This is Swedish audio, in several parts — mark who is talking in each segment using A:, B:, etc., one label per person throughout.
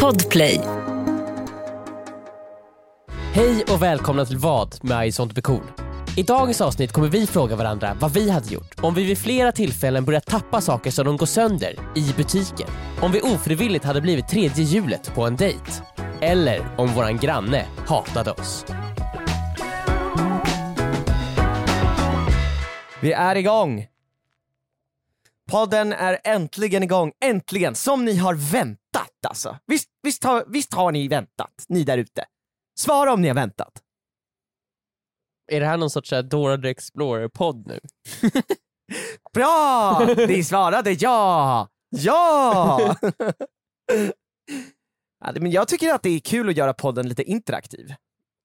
A: Podplay.
B: Hej och välkomna till Vad med I sånt blir cool. I dagens avsnitt kommer vi fråga varandra vad vi hade gjort om vi vid flera tillfällen börjat tappa saker så de går sönder i butiken. Om vi ofrivilligt hade blivit tredje hjulet på en dejt. Eller om våran granne hatade oss.
C: Vi är igång! Podden är äntligen igång, äntligen! Som ni har väntat alltså! Visst, visst, har, visst har ni väntat, ni där ute? Svara om ni har väntat.
B: Är det här någon sorts så här Dora the Explorer-podd nu?
C: Bra! Ni svarade ja! Ja! Ja, det- Men jag tycker att det är kul att göra podden lite interaktiv.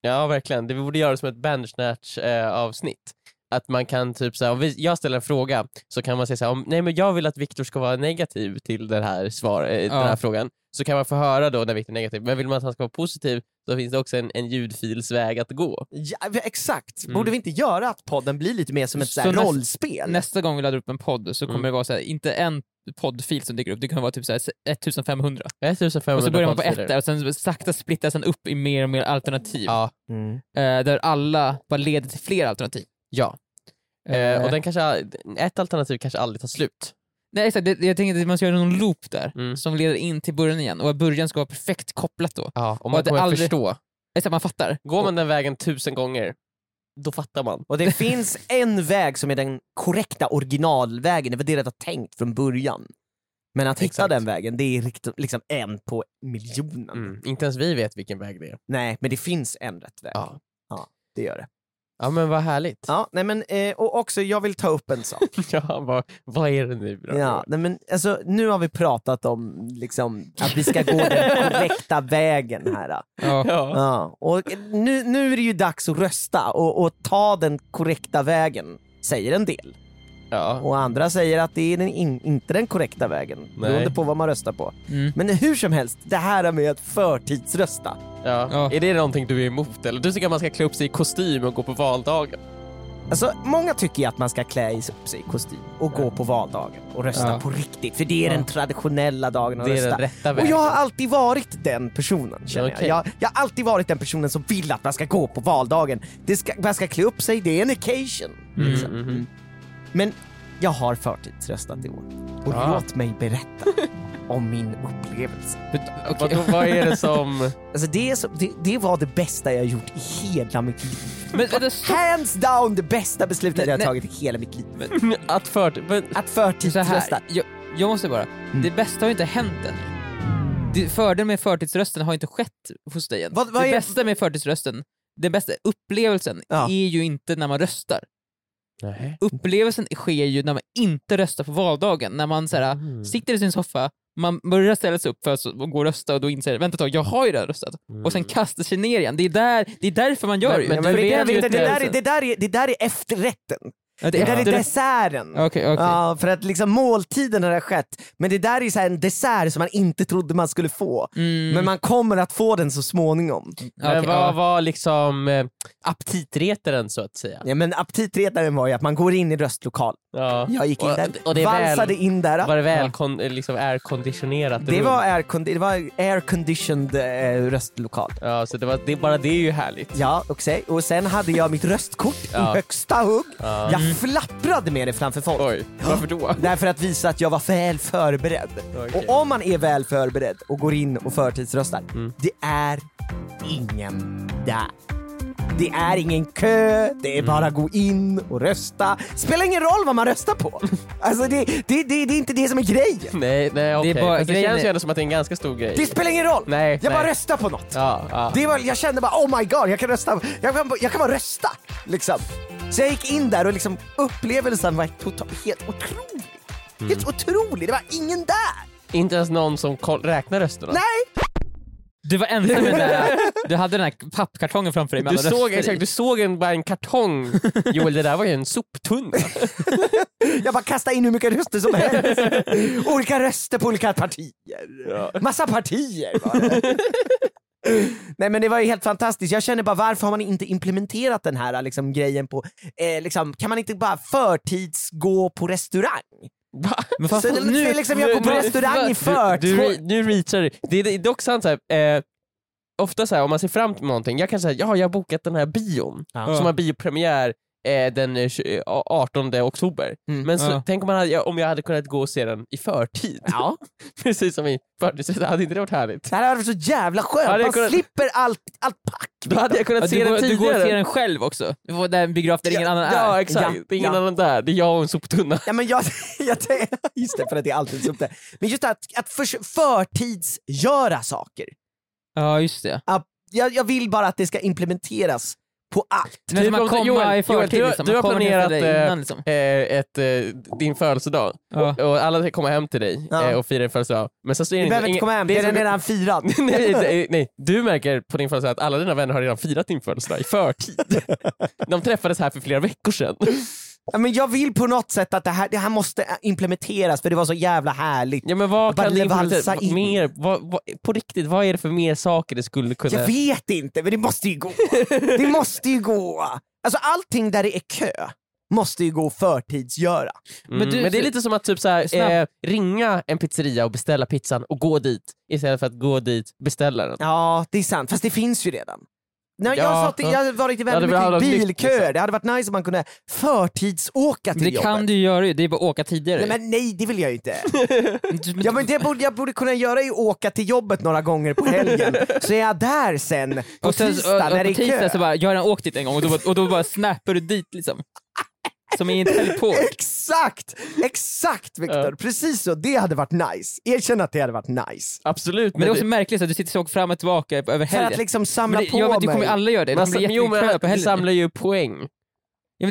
B: Ja, verkligen. Det vi borde göra som ett Bandersnatch-avsnitt. att man kan typ såhär, om vi, jag ställer en fråga så kan man säga såhär, om, nej men jag vill att Viktor ska vara negativ till den här, svar, eh, den här
D: Ja.
B: frågan. Så kan man få höra då när Viktor är negativ. Men vill man att han ska vara positiv så finns det också en, en ljudfilsväg att gå.
C: Ja, exakt,
B: Mm.
C: borde vi inte göra att podden blir lite mer som ett så här
D: Så näst-
C: rollspel?
D: Nästa gång vi laddar upp en podd så kommer
B: Mm.
D: det vara så här, inte en poddfil som dyker upp, det kan vara typ så här 1500.
B: 1500
D: Och så börjar man på ett
B: poddsidor.
D: där och sen sakta splittas den upp i mer och mer alternativ.
B: Ja.
C: Mm.
D: Eh, där alla bara leder till fler alternativ.
B: ja. Eh, och den kanske, ett alternativ kanske aldrig tar slut.
D: Nej exakt, det, jag tänker att man ska göra någon loop där
B: Mm.
D: som leder in till början igen och att början ska vara perfekt kopplat då.
B: Ja, och
D: Och
B: man
D: att det
B: kommer
D: aldrig-
B: förstå.
D: Exakt, man fattar.
B: Går man den vägen tusen gånger, då fattar man.
C: Och det finns en väg som är den korrekta originalvägen, det var det jag hade tänkt från början. Men att hitta
B: Exakt.
C: den vägen, det är rikt- liksom en på miljonen.
B: Mm. Inte ens vi vet vilken väg det är.
C: Nej, men det finns en rätt väg.
B: Ja,
C: Det gör det.
B: ja men vad härligt.
C: Ja, nej men, eh, och också, jag vill ta upp en sak.
B: Ja, vad, vad är det nu då?
C: ja, nej men, alltså, nu har vi pratat om liksom, att vi ska gå den korrekta vägen här. då.
D: Ja.
B: Ja.
C: Ja, och nu, nu är det ju dags att rösta och, och ta den korrekta vägen, säger en del.
B: Ja.
C: Och andra säger att det är den in, inte den korrekta vägen, beroende på vad man röstar på.
D: Mm.
C: Men hur som helst, det här med att förtidsrösta.
B: Ja.
D: Ja.
B: Är det någonting du är emot eller? Du tycker att man ska klä upp sig i kostym och gå på valdagen?
C: Alltså, många tycker ju att man ska klä i- upp sig i kostym och gå på valdagen och rösta
D: Ja.
C: på riktigt, för det är
D: Ja.
C: den traditionella dagen att
B: Det är
C: rösta.
B: den rätta
C: och
B: vägen.
C: jag har alltid varit den personen känner
B: Okej.
C: jag. jag. Jag har alltid varit den personen som vill att man ska gå på valdagen. Det ska, man ska klä upp sig, det är en occasion.
B: Mm,
C: liksom.
B: mm, mm.
C: Men jag har förtidsröstat i år. Och
B: Ah.
C: låt mig berätta om min upplevelse.
D: Okej.
B: Vadå, vad är det som...
C: Alltså det, är så, det, det var det bästa jag gjort i hela mitt liv.
D: Men vänta, stopp.
C: Hands down det bästa beslutet jag har
D: Nej.
C: tagit i hela mitt liv.
B: Att för... Men, Mm.
C: Att
D: så
C: förtidsrösta.
D: här. Jag, jag måste bara, det bästa har ju inte hänt än. Det- Fördelen med förtidsrösten har inte skett hos dig än.
C: Vad- vad
D: det
C: är-
D: bästa med förtidsrösten, den bästa upplevelsen,
C: Ja.
D: är ju inte när man röstar.
B: nej.
D: Upplevelsen sker ju när man inte röstar på valdagen, när man så här,
B: Mm.
D: sitter i sin soffa, man börjar ställa sig upp för att så- gå och rösta och då inser vänta ett tag, jag har ju redan röstat. Och sen kastar sig ner igen. Det är, där, det är därför man gör
B: Mm. Men-
D: det ju.
B: men
C: Ja,
D: För
C: men det,
D: är
C: där,
D: ju
C: det, det, där är,
D: upplevelsen.
C: det, där är, det där är efterrätten.
D: Ja,
C: Det där är
D: efter-
C: desserten.
D: Okej, okej.
C: Ja, för att liksom måltiden har skett, men det där är så här en dessert som man inte trodde man skulle få.
D: Mm,
C: Men man kommer att få den så småningom.
B: Men
D: okej,
B: vad
D: ja.
B: var liksom eh, aptitretaren så att säga?
C: Ja, men aptitretaren var ju att man går in i röstlokalen.
B: Ja.
C: Jag gick in
B: Och- eh,
C: där,
B: och det är väl-
C: valsade in där.
B: Var det väl kon, eh, liksom airconditionerat
C: Det
B: rum?
C: var aircon- det var air-conditioned eh, röstlokal.
B: Ja, så det var, det, bara det är ju härligt.
C: Ja, och sen, och sen hade jag mitt röstkort
B: Ja.
C: i högsta hugg.
B: Ja.
C: Jag flapprade med det framför folk.
B: Oj, varför då?
C: Därför att visa att jag var väl förberedd.
B: Okej.
C: Och om man är väl förberedd och går in och förtidsröstar,
B: Mm.
C: det är ingen där. Det är ingen kö, det är bara
B: Mm.
C: gå in och rösta. Spelar ingen roll vad man röstar på. Alltså det, det, det, det är inte det som är grejen.
B: Nej, nej okej.
D: bara-
B: Fast Det
D: grejen
B: känns ju
D: är-
B: ändå som att det är en ganska stor grej.
C: Det spelar ingen roll.
B: Nej,
C: jag
B: nej.
C: bara röstar på något.
B: Ja, ja.
C: Det var, jag kände bara oh my god, jag kan rösta, jag kan, jag kan bara rösta. Liksom. Så jag gick in där och liksom, upplevelsen var totalt, helt otrolig. Helt
B: Mm.
C: otrolig, det var ingen där.
B: Inte ens någon som koll- räknar rösterna?
C: Nej!
D: Du var ensam med den där, du hade den här pappkartongen framför dig med
B: Du
D: alla
B: såg,
D: röster i.
B: exakt, du såg en, bara en kartong. Joel, det där var ju en soptunna.
C: Jag bara kastade in hur mycket röster som helst. olika röster på olika partier. Massa partier var det. Nej men det var ju helt fantastiskt. Jag känner bara varför har man inte implementerat den här liksom, grejen på, eh, liksom, kan man inte bara förtidsgå på restaurang?
D: Va? Men fan,
C: Så det låter liksom jag går på
B: nu-
C: restaurang i
B: Du,
C: förtid.
B: re- nu reachar du. Det är det är dock sant såhär, eh, ofta såhär om man ser fram till någonting, jag kan säga ja jag har bokat den här bion
C: Ja.
B: som har biopremiär eh, den eh, tju- eh, 18 oktober.
D: Mm,
B: Men så,
D: ja.
B: tänk om, man hade, ja, om jag hade kunnat gå och se den i förtid.
C: Ja.
B: Precis som i förtidsrätt, hade inte det varit härligt?
C: Det här hade varit så jävla skönt,
B: Ja, det
C: man
B: kunde-
C: slipper allt, allt pack.
B: Då hade jag kunnat
D: Ja,
B: se
D: du,
B: den
D: går, du går och
B: tidigare.
D: ser den själv också? Du får där en biograf där ingen annan är?
B: ja exakt,
C: Ja,
B: det är ingen
C: ja.
B: annan där, det är jag och en soptunna.
C: Ja, men jag, jag, tänker- just det, för att det är alltid sånt där. Men just att, att för, förtidsgöra saker.
D: Ja, just det.
C: Att, jag, jag vill bara att det ska implementeras på allt.
D: Men
B: Typ
D: man
B: om du-
D: kommer
B: Joel,
D: i förtid
B: Joel, du-
D: liksom.
B: du
D: Man
B: har
D: kommer ner för
B: planerat,
D: dig
B: eh,
D: innan, liksom.
B: Eh, ett, eh, din födelsedag,
D: Ja.
B: och, och alla ska komma hem till dig
C: Ja.
B: eh, och fira din födelsedag. Men sen så är det
C: Du
B: inte-
C: behöver inte
B: ingen-
C: komma hem,
B: det är
C: den
B: som-
C: är redan firad.
B: nej, nej, nej, du märker på din födelsedag att alla dina vänner har redan firat din födelsedag i förtid. De träffades här för flera veckor sedan.
C: Ja, men jag vill på något sätt att det här, det här måste äh, implementeras för det var så jävla härligt.
B: Ja, men vad
C: Bara
B: kan det
C: levalsa
B: implementera-
C: in.
B: mer, vad, vad, På riktigt, vad är det för mer saker det skulle kunna...
C: Jag vet inte, men det måste ju gå. Det måste ju gå. Alltså allting där det är kö måste ju gå att förtidsgöra.
B: Mm. Men,
D: Men du-
B: det är lite som att typ så här, eh,
D: Snabb-
B: ringa en pizzeria och beställa pizzan och gå dit istället för att gå dit beställa den.
C: Ja, det är sant. Fast det finns ju redan. Nej, jag,
B: Ja.
C: sa till, jag har varit i
B: Ja, det
C: väldigt
B: hade
C: mycket
B: varit liksom.
C: bilköer.
B: lyckligt.
C: Det hade varit nice om man kunde förtidsåka till
D: Det
C: jobbet.
D: kan du ju göra ju, det är bara att åka tidigare.
C: Nej, men nej, det vill jag ju inte.
D: Du- men-
C: Jag, men det jag, borde, jag borde kunna göra är att åka till jobbet några gånger på helgen, så är jag där sen på
D: och sen,
C: tisdag
D: och, och,
C: när det
D: på
C: är kö.
D: tisdag så bara, jag har redan åkt dit en gång och då, bara- och då bara snappar du dit liksom. Som i en teleport.
C: Exakt! Exakt Viktor! Precis så, det hade varit nice. Erkänn att det hade varit nice.
B: Absolut.
D: Men det är också märkligt att du sitter och åker fram och tillbaka över
C: För att
D: helgen.
C: liksom samla
D: men det,
C: på
D: ja, men du kommer
C: mig.
D: ju aldrig göra det, det
B: man,
D: kommer bli
B: Alltså, jo, men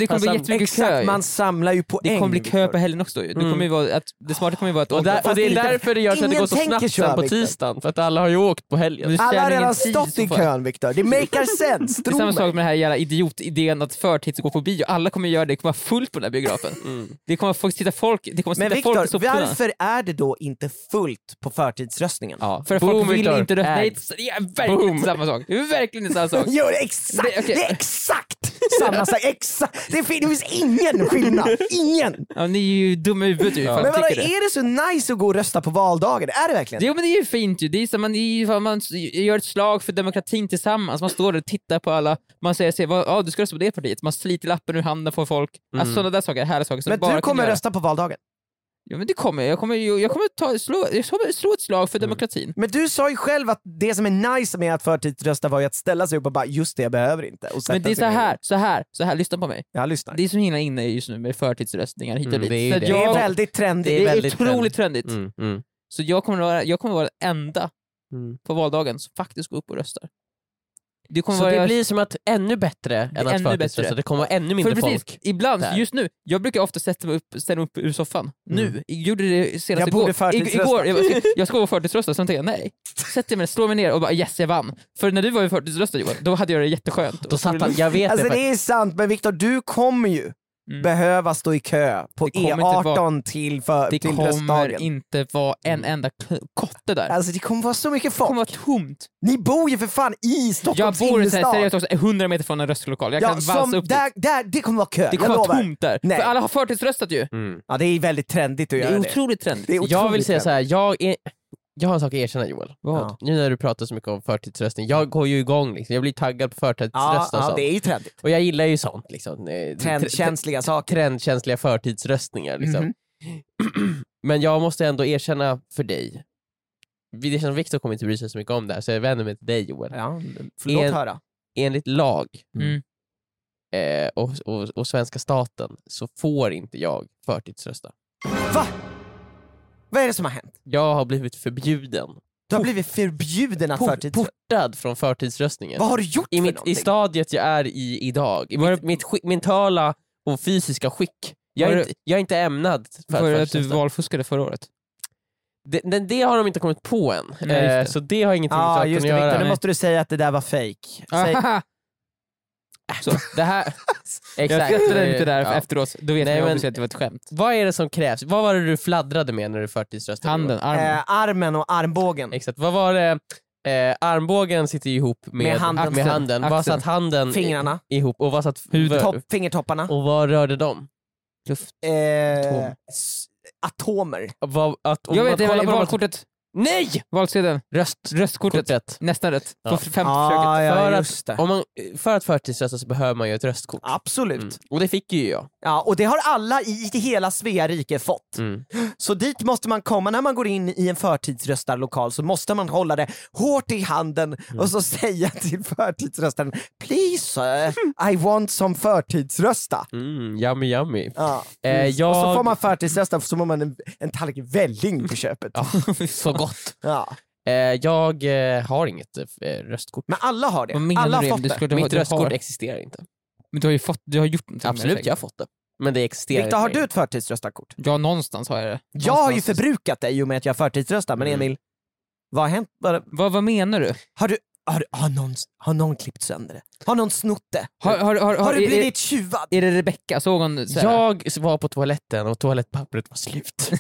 B: Alltså,
D: jättemycket kö på
B: man
D: helgen.
B: samlar ju poäng.
D: Ja, men det kommer bli jättemycket kö ju.
B: man sam-
C: Exakt, man Mm. samlar ju poäng.
D: Det kommer bli kö
C: Viktor.
D: på helgen också ju. Det, kommer ju vara att, det smarta kommer ju vara att
B: Och,
D: åka.
B: där, och
C: fast
B: det är
C: inte-
B: därför det görs att det
C: ingen
B: går så
C: tänker
B: snabbt
C: så här,
B: sen på
C: Viktor.
B: tisdagen, för att alla har ju åkt på helgen.
D: Men-
C: Alla har
D: tjänar ingen
C: redan
D: tid
C: stått
D: så
C: i
D: fan.
C: kön Viktor, det makar sense,
D: det är samma
C: tro
D: sak
C: mig.
D: med den här jävla idiotidén att förtids gå på bio. Alla kommer göra det, det kommer vara fullt på den här biografen.
B: Mm.
D: Det kommer folk, titta folk, det kommer
C: Men
D: sitta folk i
C: Viktor,
D: soptunnan.
C: varför är det då inte fullt på förtidsröstningen?
B: Ja.
D: För
B: Boom,
D: folk vill
B: Viktor.
D: inte rösta. Nej,
B: Äg.
D: det är verkligen
B: Boom.
D: inte samma sak. Det är verkligen inte samma sak.
C: Jo, det är exakt,
D: Det- okej.
C: det är exakt samma sak. Exakt. Det fin- det finns ingen skillnad. Ingen.
D: Ja, ni är ju dumma i huvudet ju. Ja.
C: Men vadå,
D: tycker det.
C: är det så nice att gå och rösta på valdagen? Är det verkligen?
D: Jo men det är ju fint ju. Det är som man, det är ju fan, man gör ett slag för demokratin tillsammans. Man står där och tittar på alla. Man säger sig, vad- ja du ska rösta på det partiet. Man sliter lappen ur handen på folk.
B: Mm.
D: Alltså sådana där saker, härliga saker som
C: Men
D: bara
C: du
D: kan
C: kommer
D: göra.
C: rösta på valdagen.
D: Ja men det kommer jag. Jag kommer, ju- jag kommer, ta, slå, jag kommer slå ett slag
B: Mm.
D: för demokratin.
C: Men du sa ju själv att det som är nice med att förtidsrösta var ju att ställa sig upp och bara just det, jag behöver inte. Och sätta
D: Men det är
C: sig
D: så
C: ner.
D: här, så här, så här, lyssna på mig.
C: Jag lyssnar.
D: Det är så himla inne just nu med förtidsröstningar hit och
B: Mm,
D: dit.
B: det är ju
D: så att
B: det.
C: Det
D: Jag,
C: är väldigt trendigt.
D: det är
B: väldigt
D: otroligt
B: trendigt.
D: trendigt.
B: Mm, mm.
D: Så jag kommer, vara, jag kommer vara den enda
B: Mm.
D: på valdagen som faktiskt går upp och röstar. Det kommer
B: Så
D: vara
B: det
D: jag-
B: blir som att ännu bättre än att
D: ännu
B: förtidsrösta,
D: bättre.
B: det kommer vara ännu mindre
D: För precis,
B: folk.
D: Ibland,
B: där.
D: just nu, jag brukar ofta sätta mig upp, ställa mig upp ur soffan. Nu, jag gjorde det senast
C: Mm. Jag
D: igår.
C: borde
D: I-
C: förtidsrösta.
D: igår jag, jag, ska, jag ska vara förtidsrösta, sen tänkte jag nej. Sätter jag mig, slår mig ner och bara yes jag vann. För när du var i förtidsrösta Johan, då hade jag det jätteskönt.
B: Då satt han, jag vet
C: Alltså
B: det,
C: det är sant, men Viktor du kommer ju
D: Mm.
C: behöva stå i kö på
D: Det kommer inte vara-
C: E18 till, för,
D: det
C: till
D: kommer
C: röstdagen.
D: inte vara en enda k- kotte där.
C: Alltså det kommer vara så mycket
D: Det
C: folk.
D: kommer vara tomt.
C: Ni bor ju för fan i
D: Jag
C: Stockholms
D: bor så här,
C: innerstad.
D: seriöst också 100 meter från en röstlokal. Jag
C: ja,
D: kan valsa
C: som,
D: upp
C: där,
D: dit.
C: där, det kommer vara kö,
D: Det kommer
C: jag
D: vara
C: lovar.
D: tomt där.
C: Nej.
D: För alla har förtidsröstat ju.
B: mm.
C: Ja, det är väldigt trendigt att
D: Det
C: göra
D: är
C: det.
D: otroligt trendigt.
C: Det är
B: Jag vill
C: otroligt
B: säga
C: trendigt.
B: så här, jag, är, jag har en sak att erkänna Joel.
D: Vad?
B: Nu när du pratar så mycket om förtidsröstning, jag går ju igång liksom, jag blir taggad på
C: Ja,
B: förtidsröst och
C: ja,
D: alltså.
B: sånt.
C: det är ju trendigt.
B: Och jag gillar ju sånt liksom. eh, tre-
C: Trendkänsliga saker.
B: trendkänsliga förtidsröstningar. Liksom.
C: Mhm.
B: Men jag måste ändå erkänna för dig, det känns som Viktor kommer inte bry sig så mycket om det här så jag vänder mig till dig Joel.
C: Ja, förlåt
B: En-
C: höra.
B: Enligt lag
D: Mm.
B: eh, och, och, och svenska staten så får inte jag förtidsrösta.
C: Va? Vad är det som har hänt?
B: Jag har blivit förbjuden,
C: Du har blivit förbjuden att
B: por-
C: förtidsrösta.
B: portad från förtidsröstningen.
C: Vad har du gjort
B: I,
C: för
B: mitt, I
C: någonting?
B: stadiet jag är i idag, i mitt, mitt skick, mentala och fysiska skick. Jag
D: Var
B: är,
D: det-
B: inte, jag är inte ämnad för att
D: För att du
B: förtidsrösta.
D: valfuskade förra året.
B: Det, det, det har de inte kommit på än,
D: Nej, just
B: eh,
D: det. Ah,
B: så det har ingenting med
C: Ja,
B: saken
C: just
B: att
C: det. Viktor,
B: göra.
C: nu måste du säga att det där var fake. Säg,
D: Ahaha. Så, det här, jag
B: Exakt.
D: skrattade lite där
B: Ja.
D: efteråt, då vet
B: Nej,
D: ni
B: men-
D: men... att det var ett skämt.
B: Vad är det som krävs? Vad var det du fladdrade med när du förtidsröstade?
D: Handen, armen.
C: eh, armen och armbågen.
B: Exakt. Vad var det? Eh, armbågen sitter ju ihop med,
C: Med handen.
B: Med handen. Vad
D: Axeln.
B: satt handen i-
C: Fingrarna.
B: ihop och vad satt
C: Topp, fingertopparna.
B: Och vad rörde de?
D: Luft.
C: Eh,
D: Tom.
C: s- atomer.
B: Vad, att, om
D: Jag
B: man
D: vet, det
B: kollar
D: var
B: på de-
D: valkortet.
B: Nej!
D: Valsedeln.
B: Röst,
D: Röstkortet.
B: röstkortet.
D: Nästan rätt.
B: Ja.
D: På femte försöket.
C: Ah,
B: För
C: ja,
B: att-
C: just det.
B: Om man, för att förtidsrösta så behöver man ju ett röstkort.
C: Absolut.
B: Mm. Och det fick ju jag.
C: Ja, och det har alla i i hela Svea rike fått.
B: Mm.
C: Så dit måste man komma när man går in i en förtidsröstarlokal så måste man hålla det hårt i handen och
B: Mm.
C: så säga till förtidsröstaren “Please sir, I want some förtidsrösta”.
B: Mm, yummy yummy.
C: Ja. Mm,
B: Eh, jag...
C: Och så får man förtidsrösta så får man en, en tallrik välling på köpet.
B: Ja, så gott.
C: Ja.
B: Eh, jag eh, har inget eh, röstkort.
C: Men alla har det.
D: Vad menar
C: Alla har
D: du?
C: fått
D: Du
C: det.
D: skulle ha-
B: Mitt
D: du har-
B: röstkort existerar inte.
D: Men du har ju fått, du har gjort någonting med det
B: Absolut,
D: säkert.
B: jag har fått det. Men det existerar
C: Viktor, har
B: inte.
C: du ett förtidsröstarkort?
D: Ja, någonstans har jag det.
C: Jag har ju
D: Någonstans.
C: förbrukat det i och med att jag förtidsröstar, men
B: Mm.
C: Emil, vad har hänt? Vad-
D: Vad, vad menar du?
C: Har, du, har, du, har, någon, har någon klippt sönder det? Har någon snott det?
D: Har, har, har,
C: Har
D: är-
C: du blivit tjuvad?
D: Är, är det Rebecka? Såg hon så här,
B: Jag var på toaletten och toalettpappret var slut.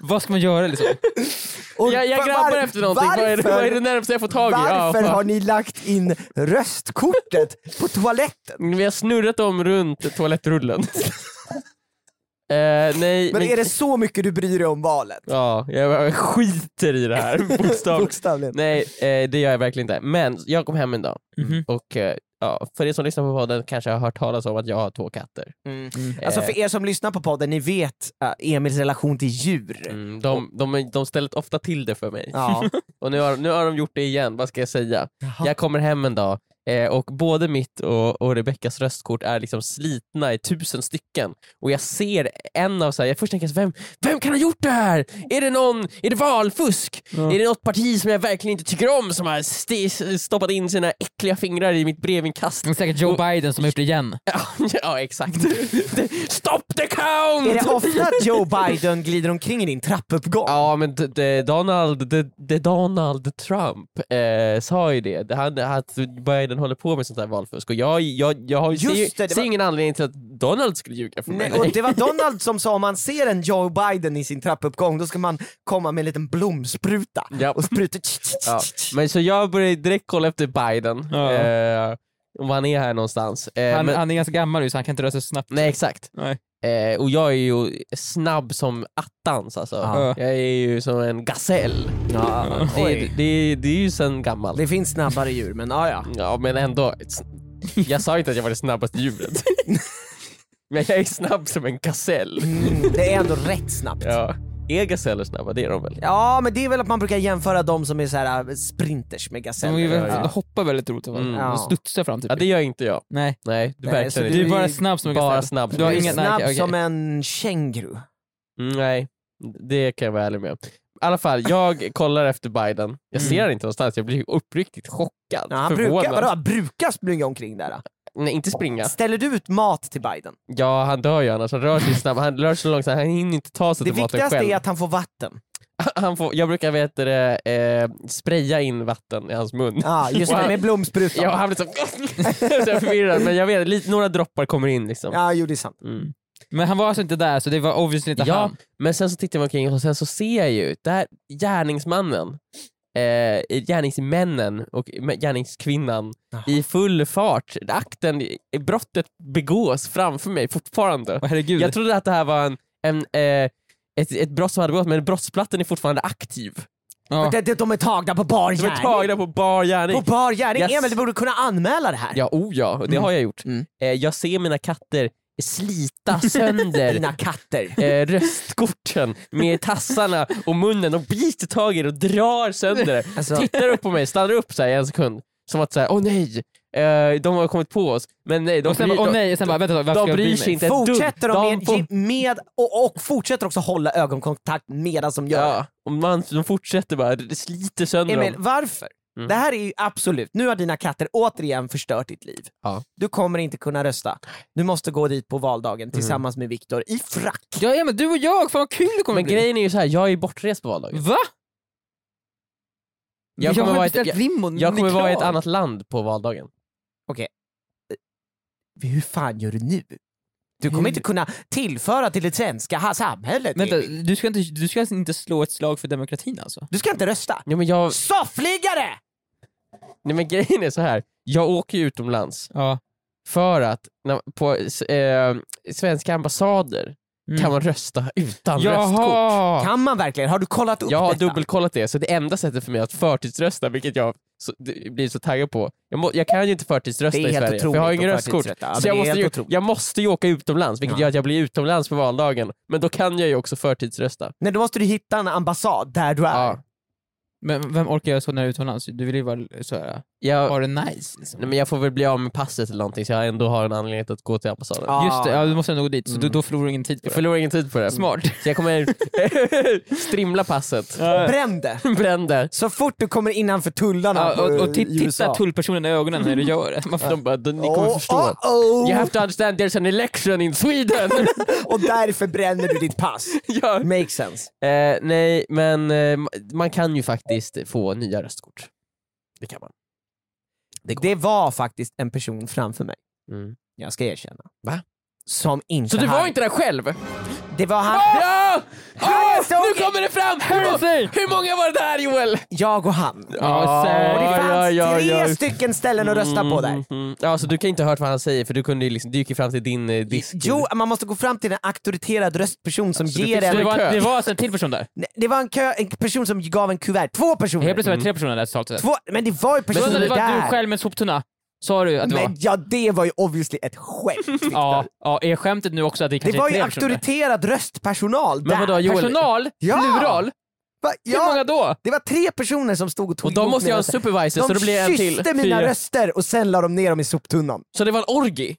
D: Vad ska man göra liksom?
C: Och
B: jag jag
C: var-
B: grabbade
C: var-
B: efter någonting. Vad är, det- vad är det närmaste jag får tag i? Ja,
C: Varför
B: fan.
C: har ni lagt in röstkortet på toaletten?
B: Vi har snurrat dem runt toalettrullen. eh, nej,
C: Men är det så mycket du bryr dig om valet?
B: Ja, jag skiter i det här. Bokstavligt.
C: Bokstavligen.
B: nej, eh, det gör jag verkligen inte. Men jag kom hem en dag
D: Mhm.
B: och eh, ja, för er som lyssnar på podden kanske har hört talas om att jag har två katter.
C: Alltså
B: Eh,
C: för er som lyssnar på podden, ni vet eh, Emils relation till djur.
B: Mm, de, de, är- de ställer ofta till det för mig.
C: Ja.
B: Och nu har, nu har de gjort det igen, vad ska jag säga?
C: Jaha.
B: Jag kommer hem en dag eh, och både mitt och, och Rebeckas röstkort är liksom slitna i tusen stycken. Och jag ser en av så här, jag först tänker så här, vem, vem kan ha gjort det här? Är det någon, är det valfusk? Är det något parti som jag verkligen inte tycker om som har st- stoppat in sina äckliga fingrar i mitt brevinkast?
D: Det är säkert Joe
B: Och-
D: Biden som har gjort det igen.
B: ja exakt. Stop the count!
C: Är det ofta att Joe Biden glider omkring i din trappuppgång?
B: Ja men d- d- Donald, d- d- Donald Trump eh, sa ju det, Det- han, att Biden håller på med sånt här valfusk och jag, jag, jag har, ju- ser, ju-
C: Just det, det
B: ser
C: var-
B: ingen anledning till att Donald skulle ljuga för mig.
C: Nej, och det var Donald som sa om man ser en Joe Biden i sin trappuppgång då ska man komma med en liten blomspruta
B: Ja.
C: och spruta.
B: Ja. Men så jag började direkt kolla efter Biden,
D: Ja.
B: eh, om han är här någonstans. Eh,
D: Han,
B: men,
D: han är ganska gammal nu så han kan inte röra sig så snabbt.
B: Nej exakt.
D: Nej.
B: Eh, och jag är ju snabb som attans alltså.
C: Ja.
B: Jag är ju som en gasell.
C: Ja,
B: Det,
C: oj.
B: det, det, är ju sen gammalt.
C: Det finns snabbare djur men ja, ja.
B: Ja, men ändå. Jag sa inte att jag var det snabbaste djuret. men jag är snabb som en gasell.
C: Mm, det är ändå rätt snabbt. Ja.
B: Ja. Är gaseller snabba? Det är de väl?
C: men det är väl att man brukar jämföra de som är så här äh, sprinters med
D: De, är ju,
C: gaseller.
D: väldigt-
B: ja.
D: de hoppar väldigt roligt. Mm.
B: Mm.
C: Ja.
D: De studsar fram typ.
B: Ja, det gör inte jag.
D: Nej.
B: Nej, det
C: Nej, så
B: verkar
C: det
D: Du är
B: inte.
D: bara snabb som en
B: Bara
D: gasell.
B: snabb.
D: Du har
C: Du är
D: inga- nej,
C: snabb
D: okej.
C: som en känguru.
B: Mm, Nej, det kan jag vara ärlig med. I alla fall, jag kollar efter Biden. Jag ser han inte någonstans. Jag blir uppriktigt chockad.
C: Mm. Ja, han brukar,
B: förvånad.
C: vadå, han brukar springa omkring där. äh.
B: Nej, inte springa.
C: Ställer du ut mat till Biden?
B: Ja, han dör ju annars. Han rör sig snabbt. Han rör sig så långsamt. Han hinner inte ta sig
C: Det
B: till maten
C: viktigaste
B: själv.
C: är att han får vatten.
B: han får, jag brukar vet du det, eh, spraya in vatten i hans mun.
C: Ja, just det,
B: Wow.
C: med blomsprutan.
B: Ja,
C: Ja,
B: han blir så, så här förvirrad, men jag vet, lite, några droppar kommer in liksom.
C: jo det är sant.
B: Mm.
D: Men han var alltså inte där så det var obviously inte
B: Ja,
D: han.
B: men sen så tittar man omkring och sen så ser jag ju där gärningsmannen, eh, gärningsmännen och gärningskvinnan
C: Jaha.
B: i full fart. Akten, brottet begås framför mig fortfarande.
D: Åh, herregud.
B: Jag trodde att det här var en, en, eh, ett, ett brott som hade begåtts men brottsplattan är fortfarande aktiv.
D: Ja.
C: De, de, de är tagna på bar
B: De är
C: gärning.
B: tagna på bar gärning.
C: På bar gärning.
B: Yes.
C: Emil, du borde kunna anmäla det här.
B: Ja, oh ja, det
C: Mm.
B: har jag gjort.
C: Mm.
B: Eh, jag ser mina katter slita sönder
C: Dina katter.
B: eh, röstkorten med tassarna och munnen och biter tag i det och drar sönder det.
C: Alltså-
B: Tittar upp på mig, stannar upp så här i en sekund. Som att säga, åh nej, eh, de har kommit på oss. Men nej, de,
D: Och sen
B: bryr,
D: bara, åh nej, och sen bara, vänta, varför
B: de,
D: ska
B: de
D: jag
B: bryr
D: bry
B: sig
D: mig?
B: inte ett
C: Fortsätter
B: dugg.
C: de med,
B: får-
C: ge- med och, och fortsätter också hålla ögonkontakt medan de gör
B: Ja, och man, de fortsätter bara, det sliter
C: det.
B: sönder
C: Emil,
B: dem.
C: varför?
B: Mm.
C: Det här är ju absolut, nu har dina katter återigen förstört ditt liv.
B: Ja.
C: Du kommer inte kunna rösta. Du måste gå dit på valdagen tillsammans
B: Mm.
C: med Viktor i frack.
D: Ja, ja men du och jag, fan vad kul det kommer
B: Men
D: bli.
B: grejen är ju så här, jag är bortrest på valdagen.
D: Va?
B: Jag
D: jag
B: kommer
D: har
B: vara i ett-
D: beställt limon,
B: Jag
D: ni
B: kommer
D: är
B: vara i ett
D: klar.
B: annat land på valdagen.
C: Hur fan gör du nu? Du kommer
D: Hur?
C: inte kunna tillföra till det svenska ha- samhället.
D: Vänta,
C: Emil.
D: du ska, inte, du ska alltså inte slå ett slag för demokratin alltså?
C: Du ska inte rösta.
B: Ja, men jag,
C: Soffliggare!
B: nej men grejen är så här. jag åker ju utomlands
D: Ja.
B: för att när, på s- eh, svenska ambassader kan man rösta utan röstkort.
D: Mm. Jaha!
C: Kan man verkligen? Har du kollat upp
B: Jag har
C: detta?
B: dubbelkollat det, så det enda sättet för mig att förtidsrösta, vilket jag så, det- blir så taggad på. Jag, må, jag kan ju inte förtidsrösta
C: Det är
B: i
C: helt
B: Sverige, för jag har
C: otroligt
B: ju ingen
C: att
B: röstkort.
C: förtidsrösta. Ja, men
B: så jag
C: det är
B: måste,
C: helt
B: ju,
C: otroligt.
B: jag måste ju åka utomlands, vilket
C: Ja.
B: gör att jag blir utomlands på valdagen. Men då kan jag ju också förtidsrösta.
C: Nej, då måste du hitta en ambassad där du är.
B: Ja.
D: Men vem orkar göra så när du är utomlands? Du vill ju vara såhär,
B: Jag,
D: ha det nice liksom.
B: nej, men jag får väl bli av med passet eller någonting, så jag ändå har en anledning att gå till ambassaden.
C: Ja.
D: Just det, ja, du måste nog dit, så
C: Mm.
D: då, då förlorar du ingen tid på
B: Jag
D: det.
B: förlorar ingen tid på det.
D: Smart.
B: Så jag kommer strimla passet.
C: Bränn det!
B: Brände.
C: Så fort du kommer innanför tullarna
D: Ja, och, och
B: Alltså,
C: på,
D: ti-
C: i
D: titta
C: USA.
D: tullpersonen i ögonen när du gör det. Man får-
B: De bara, ni kommer
C: Oh,
B: förstå.
C: oh, oh.
B: You have to understand there's an election in Sweden.
C: Och därför bränner du ditt pass.
B: ja.
C: Makes sense.
B: eh, nej, men eh, man kan ju faktiskt få nya röstkort. Det kan man.
C: Det var faktiskt en person framför mig,
B: Mm.
C: jag ska erkänna.
B: Va?
C: Som inte
B: Så du var
C: hade-
B: inte där själv?
C: Det var han...
B: Ja! Ah!
C: Harrison!
B: Nu kommer det fram!
D: Harrison!
B: Hur många var det där Joel?
C: Jag och han.
D: Ja, säkert.
C: Och det fanns
B: ja, ja,
C: tre
B: ja.
C: stycken ställen att rösta på där.
B: Mm, mm. Ja, så du kan inte ha hört vad han säger för du, kunde ju liksom, du gick ju fram till din eh, disk.
C: Jo, man måste gå fram till en auktoriterad röstperson som
B: Så du
C: ger
B: fick-
D: Så det,
C: en...
D: var,
B: kö.
D: det var alltså en till person där?
C: Nej, Det var en, kö, en person som gav en kuvert. Två personer!
D: Helt plötsligt var det tre personer där totalt sett.
C: Två, men det var ju
D: Men
C: personer
D: alltså, det var
C: där.
D: du själv med en soptunna, sa du att det var?
C: Men ja, det var ju obviously ett skämt. Viktor.
D: Ja, ja, är skämtet nu också att det
C: det
D: kanske
C: var
D: är
C: ju
D: tre personer? där?
C: auktoriterad röstpersonal
B: Men
C: där.
B: vadå Joel?
D: Personal?
C: Ja.
D: Plural?
C: Va?
D: Hur
C: Ja,
D: många då?
C: det var tre personer som stod och tog
B: Och de
C: emot
B: måste ju
C: mina
B: ha en
C: röster.
B: supervisor så
C: De
B: det blir en till.
C: kysste mina
B: Fyra.
C: röster och sen la de ner dem i soptunnan.
B: Så det var en orgi?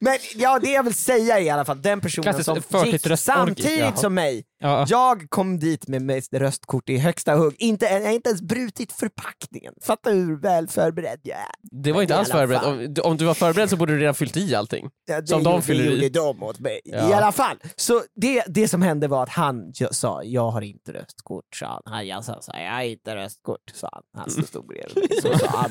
C: Men ja, det jag vill säga är i alla fall, den personen
D: Klassisk
C: som gick
D: förtidsröstorgi.
C: samtidigt
B: Jaha.
C: som mig,
D: Ja.
C: jag kom dit med mitt röstkort i högsta hugg. Inte, jag har inte ens brutit förpackningen. Fatta hur väl förberedd jag är.
B: Det var inte
C: I
B: alls
C: alla
B: förberett.
C: fall.
B: Om, om du var förberedd så borde du redan fyllt i allting.
C: Ja, det
B: Som de
C: gjorde-
B: fyller i.
C: gjorde de åt mig.
B: Ja.
C: I alla fall. Så det, det som hände var att han ju- sa, jag har inte röstkort, sa han. han. Jag sa, så här, jag har inte röstkort, sa han. Han som stod bredvid mig. Så sa han.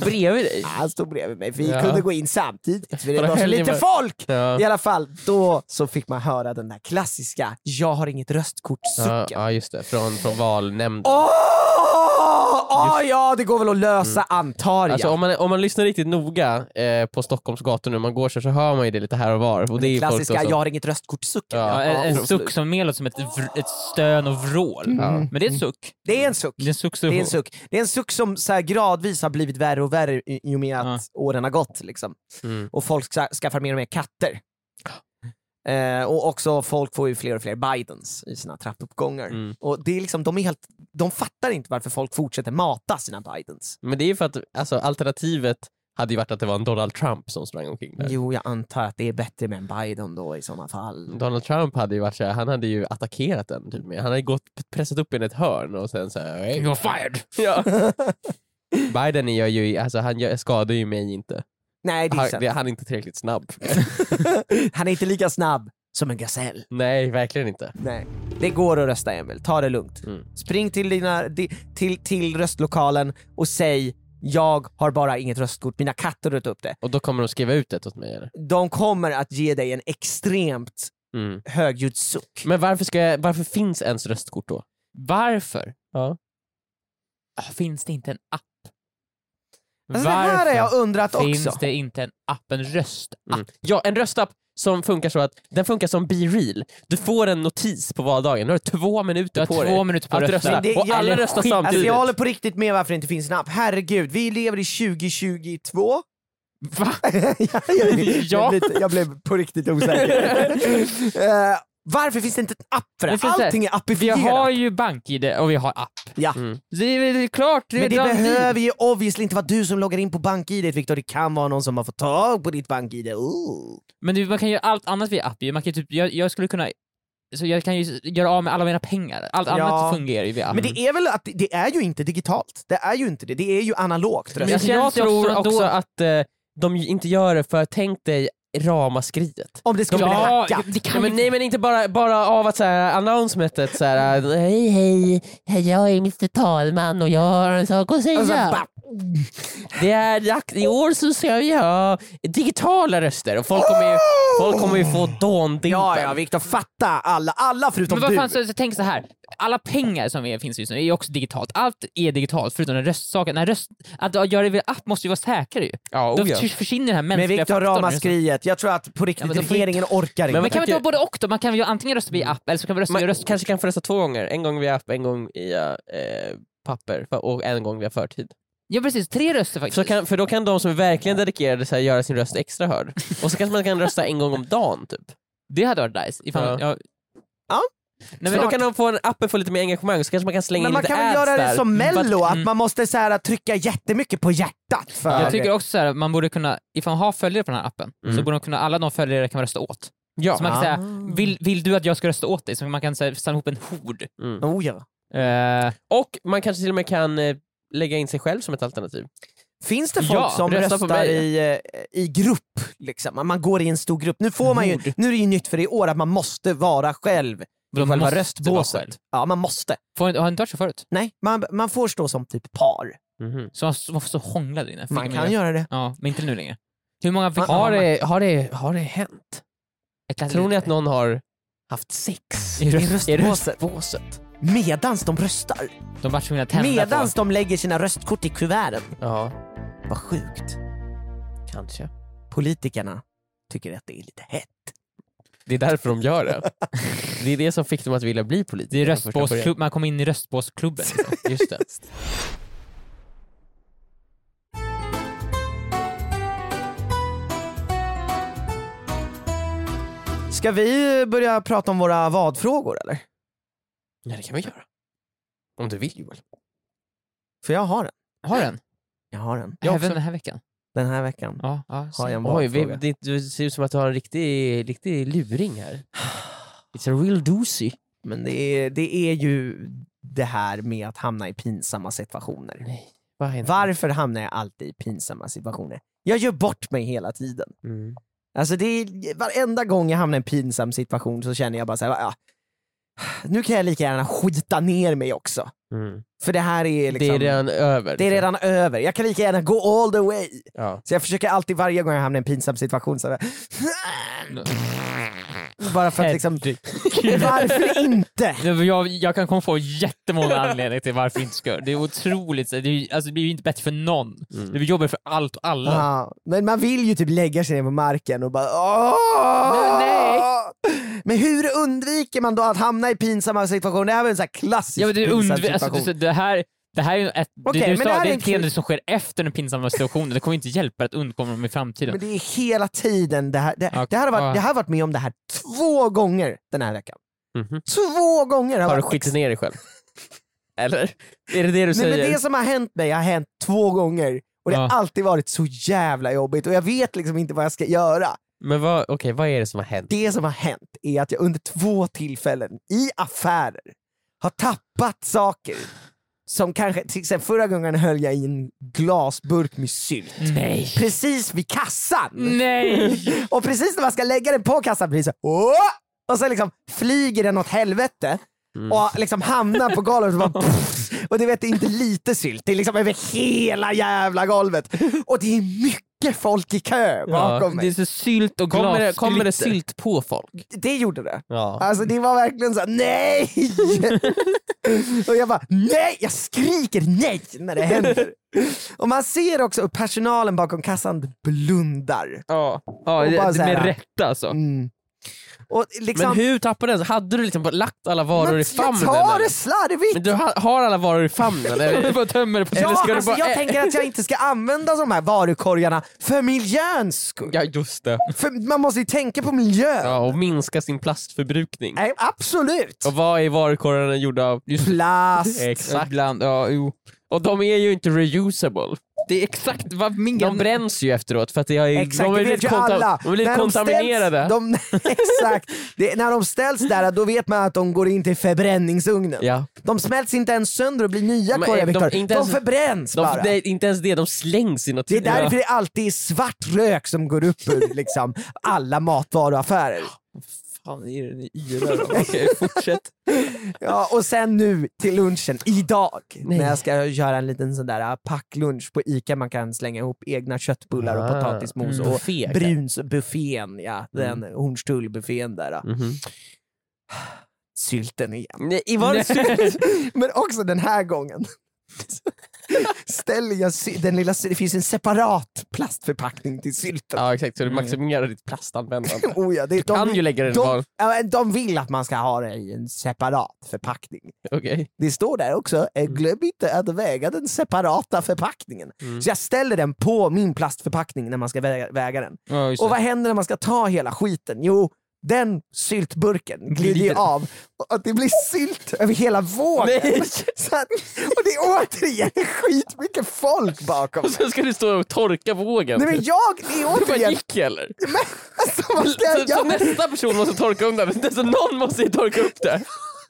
B: Bredvid dig?
C: Ja, Han stod bredvid mig, vi
B: Ja.
C: kunde gå in samtidigt för det
B: Bara
C: var så
B: helg
C: lite
B: med-
C: folk!
B: Ja.
C: I alla fall, då så fick man höra den där klassiska “jag har inget
B: Ja,
C: röstkort”-sucken.
B: ja just det, från, från valnämnden.
C: Åh! Ah, ja, det går väl att lösa antar jag.
B: Alltså, om, man, om man lyssnar riktigt noga eh, på Stockholms gator nu, man går så, så hör man ju det lite här och var. Och det är ju folk då
C: klassiska
B: som-
C: “jag har inget röstkort”-sucken.
B: Ja. Mm.
D: Ja, en, en
B: absolut.
D: suck som mer låter som ett, vr- ett stön och vrål.
C: Mm.
B: Ja.
D: Men det är en suck.
C: Det är en suck.
D: Det är en suck,
C: Det är en suck, det är en suck som så här gradvis har blivit värre och värre i i och med att åren har gått. Liksom.
B: Mm.
C: Och folk ska, skaffar mer och mer katter. Eh, och också folk får ju fler och fler Bidens i sina trappuppgångar.
B: Mm.
C: Och det är liksom, de, är helt, de fattar inte varför folk fortsätter mata sina Bidens.
B: Men det är ju för att alltså, alternativet hade ju varit att det var en Donald Trump som sprang omkring där.
C: Jo, jag antar att det är bättre med en Biden då i sådana fall.
B: Donald Trump hade ju varit så här, han hade ju attackerat den typ med. Han hade gått, pressat upp en i ett hörn och sen så här, "Hey."
D: You're fired!
B: ja. Biden gör ju, alltså han gör, skadar ju mig inte.
C: Nej, det är
B: Han,
C: sant.
B: det, han är inte tillräckligt snabb.
C: Han är inte lika snabb som en gasell.
B: Nej, verkligen inte.
C: Nej. Det går att rösta Emil, ta det lugnt.
B: Mm.
C: Spring till, dina, di, till, till röstlokalen och säg jag har bara inget röstkort, mina katter har upp det.
B: Och då kommer de skriva ut det åt mig eller?
C: De kommer att ge dig en extremt
B: Mm.
C: högljudd suck.
B: Men varför, ska jag, varför finns ens röstkort då?
D: Varför
B: Ja.
D: ah, finns det inte en app?
C: Alltså, det här har jag undrat
D: finns
C: också.
D: det inte en app? En röstapp?
B: Mm. Ja, en röstapp som funkar så att den funkar som Be Real. Du får en notis på valdagen, du har två
D: Du
B: minuter
D: har
B: på
D: två
B: dig.
D: minuter på
B: att
D: att
B: rösta.
D: rösta.
C: det-
B: och
C: jag-
B: alla
C: det-
B: röstar
D: skit-
B: samtidigt.
C: Alltså jag håller på riktigt med varför det inte finns en app. Herregud, vi lever i 2022.
D: Va?
C: jag, jag,
D: Ja.
C: jag, blev, jag blev på riktigt osäker. Eh, varför finns det inte en app för
D: Men
C: det?
D: finns det-
C: Allting är
D: Vi
C: appifierat.
D: har ju bank-id och vi har app.
C: Ja.
B: Mm.
D: Så det är väl klart. Det är
C: Men det
D: redan
C: behöver ju obviously inte vara du som loggar in på bank-id Viktor, det kan vara någon som har fått tag på ditt bank-id. Ooh.
D: Men du, man kan göra allt annat via app ju. Man kan ju typ, jag, jag skulle kunna... Så jag kan ju göra av med alla mina pengar. Allt
C: Ja.
D: annat fungerar ju via app.
C: Men det är väl att det- det är ju inte digitalt, det är ju inte det, det är ju analogt.
B: Men jag,
D: det känns ju
B: tror
D: också
B: också,
D: ändå-
B: att eh, de ju inte gör det för tänk dig ramaskriet.
C: Om det skulle bli
D: ja,
C: hackat.
D: det kan
B: Ja,
D: ju-
B: men, nej men inte bara, bara av att så här, announcementet så här, eh, hej hej, hej, jag är Mr Talman och jag har en sak att säga.
C: Och sen Alltså, bara-
B: Det är dags, i år så ska vi ha digitala röster och folk kommer ju,
D: Oh!
B: folk kommer ju få dåndimpen.
C: Ja, ja Viktor, fatta alla, alla förutom
D: Men vad
C: du.
D: fan, så, så tänk så här. alla pengar som är, finns just nu är ju också digitalt. Allt är digitalt förutom den röstsaken. Den här röst, att göra det via app måste ju vara säkrare ju.
A: Ja,
D: Då
A: oh ja.
D: förs- försvinner den här
C: Men
D: mänskliga
C: vi tar
D: faktorn.
C: ramaskriet. Jag tror att på
D: Ja,
C: riktigt
D: men då får vi-
C: regeringen orkar inte.
D: Men kan vi inte
B: Tycker-
D: ha både och då? Man kan ju antingen rösta via app eller så kan vi rösta
C: Alltså,
B: Man
D: via röst.
B: kanske kan få rösta två gånger, en gång via app, en gång via eh, papper för- och en gång via förtid.
D: Ja precis, tre röster faktiskt.
B: Så kan, för då kan de som är verkligen dedikerade så här, göra sin röst extra hörd. Och så kanske man kan rösta en gång om dagen typ.
D: Det hade varit nice. Ifall, ja.
C: Ja.
D: Nej,
B: så
D: men,
B: då kan de få en, appen få lite mer engagemang så kanske man kan slänga
C: Men
B: in
C: man
B: lite
C: kan väl
B: ads
C: göra
B: där.
C: det som
B: För att-
C: mello, att
D: mm.
C: man måste så här, trycka jättemycket på hjärtat för...
D: jag tycker också så här, man borde kunna, ifall man har följare på den här appen,
B: Mm.
D: så borde de kunna, alla de följare kan man rösta åt.
B: Ja.
D: Så man kan
C: Ah.
D: säga, vill, vill du att jag ska rösta åt dig? Så man kan så här, samla ihop en hord.
B: Mm.
C: Oh, ja.
D: Eh,
B: Och man kanske till och med kan eh, lägga in sig själv som ett alternativ.
C: Finns det folk
D: Ja,
C: som
B: rösta på
C: röstar
B: mig.
C: i, eh, i grupp? Liksom? Att Man går i en stor grupp. Nu, får man ju,
D: Mord.
C: nu är det ju nytt för i år att man måste vara själv i
D: Man
C: själva
D: måste
C: röstbåset.
D: vara själv.
C: Ja, man måste.
D: får, har det inte varit så förut?
C: Nej, man, man får stå som typ par.
D: Så man, man får så hångla där inne. Fick
C: Man kan Ah, göra det.
D: Ja, men inte nu längre. Hur många fick
B: Har, det, har, det, har det hänt?
D: Ett-
B: Tror ni att någon har haft sex
D: I röst-
C: i röstbåset.
B: röstbåset?
C: Medans de röstar.
D: De vart tvungna att tända
C: Medans
D: på...
C: de lägger sina röstkort i kuverten.
B: Ja,
C: Vad sjukt.
B: kanske.
C: Politikerna tycker att det är lite hett.
B: Det är därför de gör det. det är det som fick dem att vilja bli politiker.
D: Det är
B: från första början.
D: röstbåsklubb, man kommer in i röstbåsklubben. Liksom.
B: Just det.
C: Ska vi eh, börja prata om våra vadfrågor eller?
B: Nej, det kan vi göra. Om du vill Joel.
C: För jag har den.
D: Har den?
C: Jag har den.
D: Även den här veckan?
C: Den här veckan
D: Ja, ja,
C: har jag en
B: Oj, vi,
C: vadfråga.
B: det, det ser ut som att du har en riktig, riktig luring här. It's a real doozy.
C: Men det är, det är ju det här med att hamna i pinsamma situationer.
B: Nej, vad har hänt?
C: Varför hamnar jag alltid i pinsamma situationer? Jag gör bort mig hela tiden.
B: Mm.
C: Alltså det är, varenda gång jag hamnar i en pinsam situation så känner jag bara så här, ja, nu kan jag lika gärna skita ner mig också.
B: Mm.
C: För det här är liksom,
B: det är redan över.
C: det är redan över. Jag kan lika gärna gå all the way.
B: Ja.
C: Så jag försöker alltid varje gång jag hamnar i en pinsam situation så här, bara för att liksom, varför inte?
D: Det var- Jag, jag kan komma på jättemånga anledningar till varför vi inte ska göra det. Det är otroligt, så här, det, är, ju- alltså, det blir ju inte bättre för någon.
C: Mm.
D: Det blir jobbigare för allt och alla.
C: Ja, men man vill ju typ lägga sig ner på marken och bara Åh!
D: Nej,
C: Men hur undviker man då att hamna i pinsamma situationer? Det här var en sån här klassisk
D: Ja, men det, är
C: pinsam
D: undv- alltså,
C: situation.
D: det, det här det här är ju ett,
C: Okej,
D: det du
C: men
D: sa,
C: det
D: det,
C: här är
D: är
C: en
D: ett beteende som sker efter den pinsamma situationen. Det kommer inte hjälpa att undkomma dem i framtiden.
C: men det är hela tiden det här. Det,
D: Ja,
C: det här har
D: ja.
C: varit, jag har varit med om det här två gånger den här veckan.
B: Mhm.
C: Två gånger!
B: Har du
C: varit
B: skitit ner dig själv? Eller? Är det det du
C: Nej,
B: säger?
C: men det som har hänt mig har hänt två gånger och det har
D: Ja.
C: alltid varit så jävla jobbigt och jag vet liksom inte vad jag ska göra.
B: Men vad, okej, vad är det som har hänt?
C: Det som har hänt är att jag under två tillfällen i affärer har tappat saker. Som kanske, till exempel förra gången höll jag i en glasburk med sylt.
D: Nej!
C: Precis vid kassan!
D: Mm. Nej!
C: Och precis när man ska lägga den på kassan blir det så här, "Åh!" och så liksom flyger den åt helvete
D: Mm.
C: och liksom hamnar på golvet och bara pff, och du vet det är inte lite sylt, det är liksom över hela jävla golvet. Och det är mycket folk i kö bakom
D: det är
C: mig.
D: så sylt och
B: Kommer det,
D: glas.
B: kommer det
D: glitter.
B: sylt på folk?
C: Det gjorde det.
B: Ja.
C: Alltså det var verkligen såhär, nej! och jag bara, nej! Jag skriker nej när det händer. och man ser också hur personalen bakom kassan blundar.
D: Ja, ja
C: Och bara
D: det,
C: så här-
D: med rätta alltså.
C: Mm. Och liksom,
B: Men hur tappade den? Hade du liksom bara lagt alla varor
C: men
B: i
C: jag
B: famnen?
C: tar
B: eller?
C: det slarvigt!
B: Men du har, har alla varor i famnen?
D: Du
B: Eller?
D: bara tömmer det på
C: Ja,
D: Eller ska du
C: alltså,
D: bara-
C: jag tänker att jag inte ska använda de här varukorgarna för miljöns skull.
B: Ja, just det.
C: För man måste ju tänka på miljön.
B: Ja, och minska sin plastförbrukning.
C: Nej, absolut!
B: Och vad är varukorgarna gjorda av? Just
C: Plast.
B: Exakt.
D: Ibland, ja, jo.
B: Och de är ju inte reusable.
D: Det är exakt vad min
B: De
D: gamla...
B: bränns ju efteråt för att det har ju,
C: Exakt,
B: de
C: det
B: är
C: vet
B: lite,
C: ju alla.
B: de är lite
C: När de
B: kontaminerade.
C: Ställs, de, exakt. Det, när de ställs där, då vet man att de går in till förbränningsugnen.
B: ja.
C: De smälts inte ens sönder och blir nya
B: Men,
C: korgar
B: eh, de-
C: Viktor. De,
B: inte ens-
C: förbränns
B: de,
C: bara.
B: det är inte ens det, de slängs i något.
C: det är därför det alltid är svart rök som går upp ur liksom, alla matvaruaffärer.
D: Fan, är den i yra då? Okej, fortsätt.
C: Ja, och sen nu till lunchen, idag,
B: Nej.
C: när jag ska göra en liten sån där äh, packlunch på ICA man kan slänga ihop egna köttbullar och
B: Ah,
C: potatismos
B: mm.
C: och
B: Buffé, Mm.
C: Brunsbuffén, ja, den Hornstullbuffén där. äh.
B: Mhm.
C: sylten igen.
B: Nej, i var det sylt?
C: Men också den här gången. Ställer jag sy- den lilla, sy- det finns en separat plastförpackning till sylten.
B: Ja exakt, så du maximerar ditt plastanvändande.
C: Oh ja, det,
B: Du kan ju
C: de,
B: lägga den
C: de-
B: var...
C: ja, men de vill att man ska ha det i en separat förpackning.
B: Okej.
C: Det står där också, eh, glöm inte att väga den separata förpackningen.
B: Mm.
C: Så jag ställer den på min plastförpackning när man ska väga, väga den.
D: Ja, just
C: Och
D: det.
C: vad händer när man ska ta hela skiten? Jo, den syltburken glider ju
B: Glider.
C: av och att det blir sylt över hela vågen.
B: Nej!
C: Så att, och det är återigen skitmycket folk bakom
B: Och
C: mig.
B: sen ska du stå och torka vågen.
C: Nej men jag, det är
B: du bara
C: återigen...
B: gick eller?
C: Men, alltså, vad ska
B: Så,
C: jag
B: så
C: göra?
B: nästa person måste torka undan det, så någon måste ju torka upp det.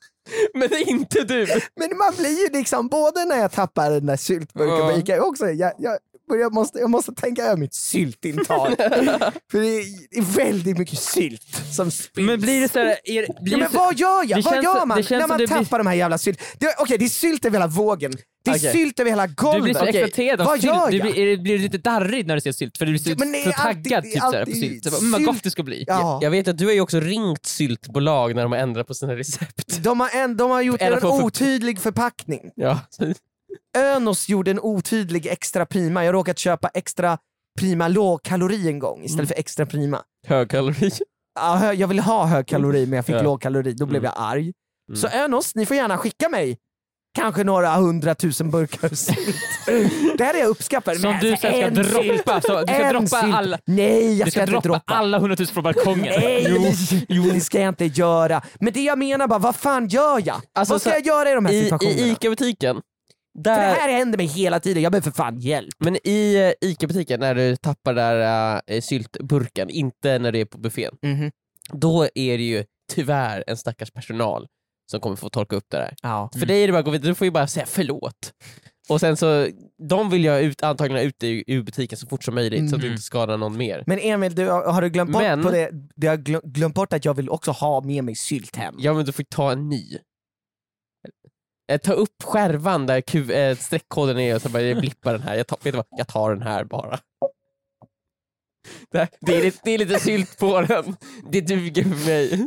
B: Men det är inte du.
C: Men man blir ju liksom, både när jag tappar den där syltburken,
D: Ja.
C: men jag kan ju också, jag, jag, jag, måste, jag måste tänka över mitt syltintag. För det är, det är väldigt mycket sylt som spills.
D: Men blir det så här, är, det- blir det
C: Ja, men
D: så-
C: vad gör jag?
D: det
C: Vad
D: känns-
C: gör man
D: det känns
C: när
D: som
C: man
D: du blir-
C: tappar de här jävla sylt? Det, okej, det är sylt över hela vågen. Det är
B: Okej.
C: sylt över hela
D: du blir
C: golvet.
D: så
B: Okej,
D: exalterad av
C: vad
D: sylt.
C: gör
D: Du
C: jag?
D: blir, är det- blir du lite darrig när du ser sylt? För du blir så,
C: Ja, men det
D: så
C: är alltid-
D: taggad
C: det är
D: typ, så här, på
C: alltid
D: sylt. Så bara, mm, vad
C: sylt.
D: gott det ska bli.
C: Ja.
B: Jag vet att du har ju också ringt syltbolag när de har ändrat på sina recept.
C: De, har en, de har gjort
B: Eller
C: en
B: på-
C: otydlig förpackning.
B: Ja.
C: Önos gjorde en otydlig extra prima. Jag har råkat köpa extra prima lågkalori en gång
D: Mm.
C: istället för extra prima.
B: Högkalori.
C: Ja, hö- Jag ville ha hög kalori men jag fick
B: Ja.
C: låg kalori, då blev
B: Mm.
C: jag arg. Så Önos, ni får gärna skicka mig kanske några hundratusen burkar sylt. Det här är jag uppskattar.
D: Som
C: Men
D: du
C: alltså,
D: sen ska
C: en sylt.
D: droppa. Så, du ska
C: en
D: droppa
C: sylt.
D: alla,
C: Nej, jag
D: du
C: ska,
D: ska
C: inte
D: droppa
C: droppa.
D: alla hundratusen från balkongen.
C: Nej,
D: Jo.
C: det ska jag inte göra. Men det jag menar bara, vad fan gör jag?
B: Alltså,
C: vad ska
B: så-
C: jag göra i de här
B: I,
C: situationerna?
B: i ICA-butiken,
C: För det
B: där,
C: här händer mig hela tiden, jag behöver för fan hjälp.
B: men i eh, ICA-butiken när du tappar där äh, syltburken, inte när det är på buffén, då är det ju tyvärr en stackars personal som kommer få torka upp det där.
C: Ja.
B: För dig är det bara att gå vidare, du får ju bara säga förlåt. Och sen så, de vill jag ut, antagligen ha ut dig ur- ur butiken så fort som möjligt så att du
D: Mm.
B: inte skadar någon mer.
C: Men Emil, du, har du glömt bort,
B: Men-
C: på det, du har glö- glömt bort att jag vill också ha med mig sylt hem?
B: Ja men du får ta en ny. Eh, Ta upp skärvan där Q, eh, streckkoden är och så bara jag blippar den här. Jag tar, vet du vad? Jag tar den här bara. Det, här- det, är, lite, det är lite sylt på den. Det duger för mig.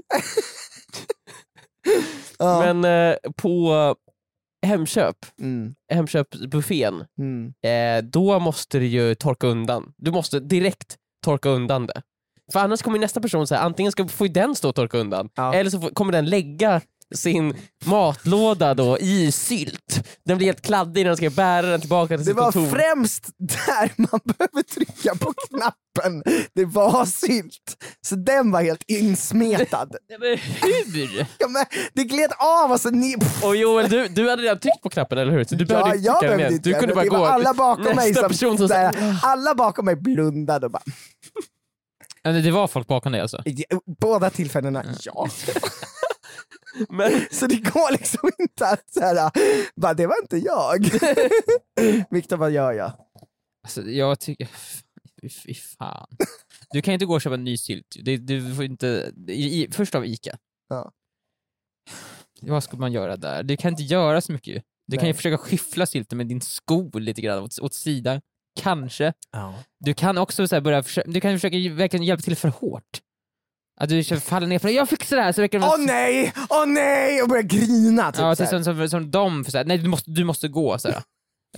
C: Ja.
B: Men eh, på Hemköp,
C: Mm,
B: Hemköpsbuffén,
C: mm.
B: eh, då måste du ju torka undan. Du måste direkt torka undan det. För annars kommer ju nästa person säga antingen ska, får ju den stå och torka undan,
C: Ja.
B: eller så får, kommer den lägga sin matlåda då i sylt. Den blir helt kladdig när den ska bära den tillbaka till
C: Det
B: sitt
C: var
B: kontor.
C: främst där man behöver trycka på knappen. Det var sylt. Så den var helt insmetad.
B: Nej, Men hur?
C: Ja, men det gled av och så ner. Pff,
B: Och Joel, du, du hade redan tryckt på knappen eller hur? Så du behövde inte
C: jag
B: trycka den
C: behövde
B: igen.
C: inte
B: Du
C: göra
B: kunde
C: det.
B: bara
C: det
B: gå.
C: var alla bakom mig
B: Nästa
C: som,
B: person som
C: där,
B: sa,
C: alla bakom mig blundade och bara,
D: Ja, men Det var folk bakom dig alltså?
C: båda tillfällena, ja.
B: men,
C: Så det går liksom inte att så här, bara, det var inte jag. Viktor, vad gör jag?
D: Alltså, jag tycker... Fy- Fy fan. Du kan ju inte gå och köpa en ny sylt. Du, du får inte... I, i, först av Ica.
C: Ja.
D: Vad ska man göra där? Du kan inte göra så mycket ju. Du kan ju
C: Nej.
D: försöka skyffla sylten med din sko lite grann åt, åt sidan. Kanske. Du kan också så här börja försöka, du kan försöka ju verkligen hjälpa till för hårt. Att du kör- faller ner för jag fixar det här så verkar det
C: Åh
D: vara-
C: nej, åh nej! Och börjar grina. Typ,
D: Ja,
C: så
D: till
C: här.
D: som, som, som de, för så här, nej du måste, du måste gå. Så här,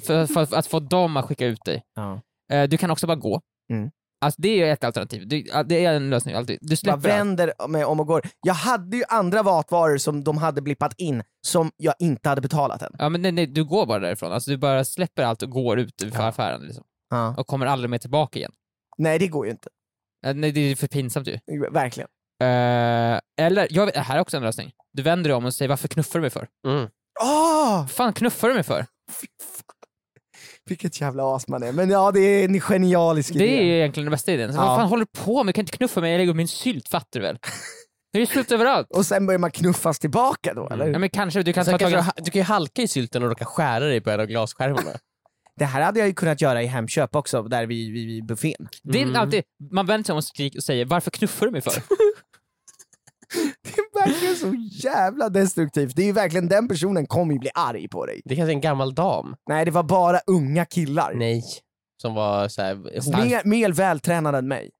D: för, för, att- att få dem att skicka ut dig.
C: Ja.
D: Eh, Du kan också bara gå.
C: Mm.
D: Alltså, det är ett alternativ. Du, ja, det är en lösning alltid. Du
C: bara
D: släpper allt.
C: vänder mig om och går. Jag hade ju andra matvaror som de hade blippat in som jag inte hade betalat än.
D: Ja, men nej, nej, du går bara därifrån. Alltså, du bara släpper allt och går ut ur
C: Ja.
D: affären liksom.
C: Ja.
D: och kommer aldrig mer tillbaka igen.
C: Nej, det går ju inte.
D: Eh, Nej, det är för pinsamt ju.
C: Verkligen.
D: Eh, eller, jag vet, här är också en lösning. Du vänder dig om och säger varför knuffar du mig för?
B: mm.
C: Åh!
D: Vad fan knuffar du mig för?
C: Vilket jävla as man är. Men ja, det är en genialisk
D: Det är
C: idé.
D: ju egentligen den bästa idén. Så
C: Ja.
D: Vad fan håller du på med? Du kan inte knuffa mig, jag lägger upp min sylt fattar du väl? Det är ju sylt överallt.
C: Och sen börjar man knuffas tillbaka då, eller?
D: Ja, men kanske du kan
B: Sen
D: ta tag i
B: kanske du, du kan ju halka i sylten och råka skära dig på en av glasskärmarna.
C: Det här hade jag ju kunnat göra i Hemköp också, där vid, vid, vid buffén.
D: Det
B: Mm.
D: är alltid, man vänder sig om och skriker och säger varför knuffar du mig
C: Mm.
D: för?
C: Det är verkligen så jävla destruktivt. Det är ju verkligen den personen kommer ju bli arg på dig.
B: Det kanske är en gammal dam.
C: Nej, det var bara unga killar.
B: Mm. Nej. Som var såhär,
C: Mer, mer vältränade än mig.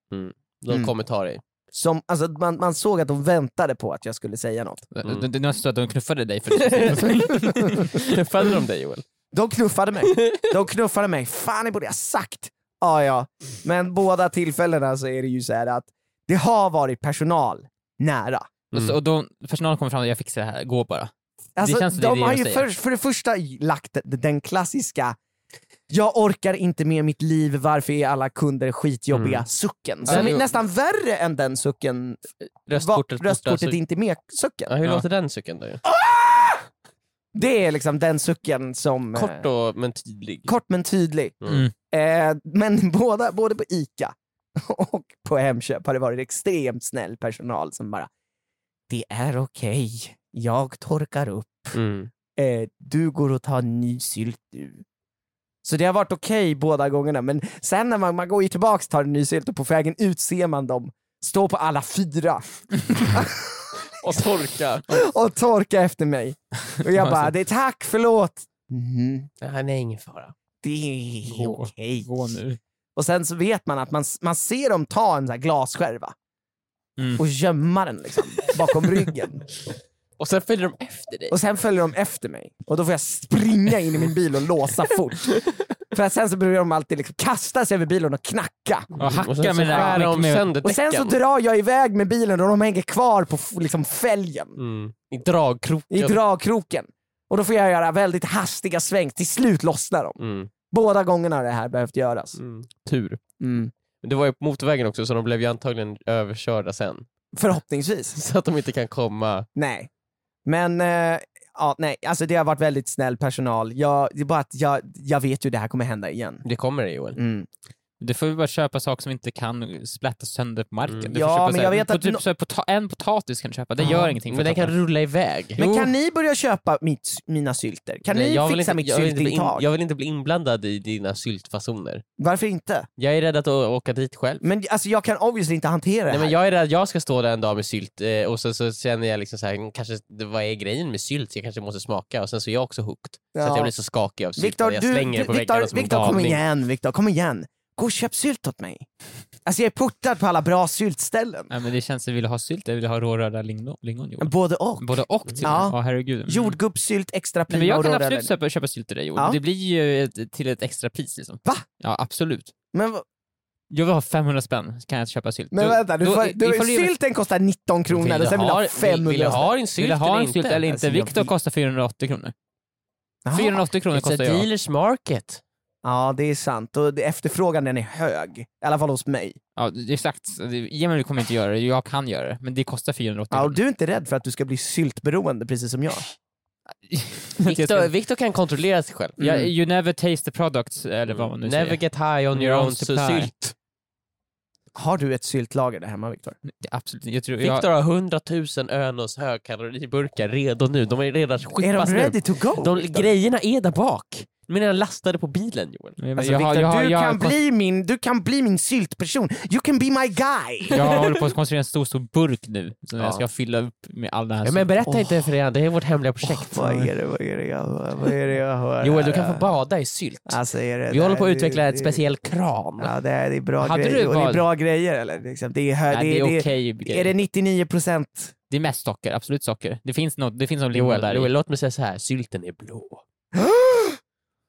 B: de
C: Mm.
B: kommer ta dig.
C: som, alltså, man, man såg att de väntade på att jag skulle säga något.
B: Mm.
D: Det det är nästan så att de knuffade dig för det.
B: Träffade de dig Joel?
C: De knuffade mig. De knuffade mig. Fan, det borde jag sagt! Ja, ja. Men båda tillfällena så är det ju så här att det har varit personal nära.
D: och, så, och då, personalen kommer fram och jag fixar det här, gå bara.
C: Alltså,
D: känns som det är
C: de
D: det
C: har
D: de
C: ju
D: säger.
C: för, för det första lagt den klassiska jag orkar inte med mitt liv, varför är alla kunder skitjobbiga?
B: Mm.
C: Sucken.
D: Ja,
C: Som är
D: jo.
C: nästan värre än den sucken
B: Röstkortet
C: var röstkortet
B: borta, så-
C: inte med sucken.
B: Ja, hur
D: Ja.
B: låter den cykeln då?
C: Det är liksom den sucken som... eh,
B: Kort och men tydlig.
C: kort men tydlig.
D: Mm.
C: Eh, men båda, både på ICA och på Hemköp har det varit extremt snäll personal som bara “Det är okej, jag torkar upp,
B: Mm.
C: eh, du går och tar ny sylt du”. Så det har varit okej båda gångerna, men sen när man, man går ju tillbaks och tar en ny sylt och på vägen ut ser man dem stå på alla fyra
B: Och torka.
C: och torka efter mig. Och jag bara “Det är tack, förlåt”. Mhm,
B: Nej, nej, ingen fara.
C: det är
D: Gå.
C: okej.
D: Gå nu.
C: Och sen så vet man att man, man ser dem ta en sån här glasskärva
D: Mm.
C: och gömma den liksom, bakom ryggen.
B: Och sen följer de efter dig.
C: Och sen följer de efter mig. Och då får jag springa in i min bil och låsa fort. För att sen så börjar de alltid liksom kasta sig över bilen och knacka.
D: Och hacka
B: Och sen så
D: med det där
B: skär de
D: med-
B: sönder
C: Och sen så
B: däcken.
C: drar jag iväg med bilen och de hänger kvar på f- liksom fälgen.
B: Mm. I dragkroken.
C: I dragkroken. Och då får jag göra väldigt hastiga sväng. Till slut lossnar de.
B: mm.
C: Båda gångerna har det här behövt göras.
B: Mm. Tur.
C: Mm.
B: Men det var ju på motorvägen också så de blev ju antagligen överkörda sen.
C: Förhoppningsvis.
B: Så att de inte kan komma.
C: Nej. Men eh, ja, nej, alltså det har varit väldigt snäll personal. Jag, det är bara att jag, jag vet ju det här kommer hända igen.
B: Det kommer det Joel.
C: Mm.
D: Du får vi bara köpa saker som inte kan splätta sönder på marken.
B: Mm.
D: Du
C: Ja,
D: får köpa
C: men
D: så här-
C: jag vet
D: du får
C: att
D: typ
C: no-
D: så här pota- en potatis kan du köpa, det gör ingenting.
B: Men den kan
D: potatis.
B: rulla iväg.
C: Men
D: Jo.
C: kan ni börja köpa mitt, mina sylter? Kan
B: Nej,
C: ni
B: jag vill
C: fixa
B: inte,
C: mitt
B: jag vill inte bli in,
C: syltintag?
B: Jag vill inte bli inblandad i dina syltfasoner.
C: Varför inte?
B: Jag är rädd att å- åka dit själv.
C: Men alltså, jag kan obviously inte hantera det
B: Nej,
C: här.
B: men jag är rädd att jag ska stå där en dag med sylt eh, och sen så känner jag liksom så här, mm, kanske, det- vad är grejen med sylt? Jag kanske måste smaka och sen så är jag också hooked. Så
C: Ja.
B: att jag blir så skakig av sylt
C: Viktor,
B: att jag
C: du,
B: slänger
C: du,
B: det på väggarna
C: Viktor,
B: som en
C: Viktor kom
B: galning.
C: igen, Viktor, kom igen. Gå och köp sylt åt mig. Alltså jag är portad på alla bra syltställen.
D: Nej, men det känns som att vi vill ha sylt, jag vill ha rårörda lingon. lingon Joel.
C: Både och.
D: Både och till och
C: Ja.
D: med. Ja, herregud. Mm.
C: Jordgubbssylt, extra
D: Nej, men
C: prima
D: jag
C: och
D: kan
C: råröda
D: absolut
C: lingon.
D: köpa, köpa sylt till dig Joel.
C: Ja.
D: Det blir ju ett, till ett extra pris liksom.
C: Va?
D: Ja, absolut.
C: Men, vad-
D: Jag vill ha 500 spänn, kan jag köpa sylt.
C: men vänta, du, får, du,
D: ifall
C: sylten kostar 19 kronor och sen vill du ha 500
B: Vill du ha en sylt
D: Vill du ha en sylt eller
C: Alltså,
D: inte?
C: jag
D: Viktor
C: vill-
D: kostar 480 kronor.
C: Jaha.
D: 480 kronor
B: It's a
D: kostar jag.
B: dealers market.
C: Ja, det är sant. Och det- efterfrågan den är hög. I alla fall hos mig.
D: Ja, det- exakt. Det- Emil kommer inte göra det, jag kan göra det. Men det kostar 480
C: Ja, och
D: kronor.
C: du är inte rädd för att du ska bli syltberoende precis som jag?
D: Jag ska-
B: Viktor, Viktor kan kontrollera sig själv.
D: Ja, you never taste the products, eller vad man nu
B: Never
D: säger.
B: get high on your
D: Your
B: own
D: own supply.
B: sylt.
C: Har du ett syltlager där hemma Viktor?
D: Det- Absolut. Jag tror, jag,
B: Viktor har 100 000 Önos högkaloriburkar redo nu. De är redan
C: Är
B: skippas
C: de
B: nu.
C: ready to go?
B: Alltså, De, grejerna är där bak. Men jag lastade på bilen Joel.
D: jag,
C: Alltså,
D: jag, har-
C: Viktor,
D: jag, har-
C: du,
D: jag,
C: kan
D: har-
C: bli min, du kan bli min syltperson. You can be my guy!
D: jag håller på att konstruera en stor, stor burk nu som
B: Ja.
D: jag ska fylla upp med all den här
B: Ja, men
D: sylten.
B: berätta inte för det, det är vårt hemliga projekt.
C: Alltså, Vad är det, vad är det jag hör? Vad är det jag hör
B: Joel, du
C: här?
B: kan få bada i sylt.
C: Alltså, är det,
B: Vi håller på att
C: det-
B: utveckla
C: det-
B: ett speciell kran.
C: Ja, det är, det är bra
D: Hade du
C: grejer. Och det är
D: vad-
C: bra grejer eller? Liksom, det är, hö-
D: Nej, det är
C: det,
D: okej.
C: är, är det 99 procent?
D: Det är mest socker, absolut socker. Det finns något, det finns någon lingon där
B: Joel,
D: i.
B: Joel, låt mig säga så här. sylten är blå.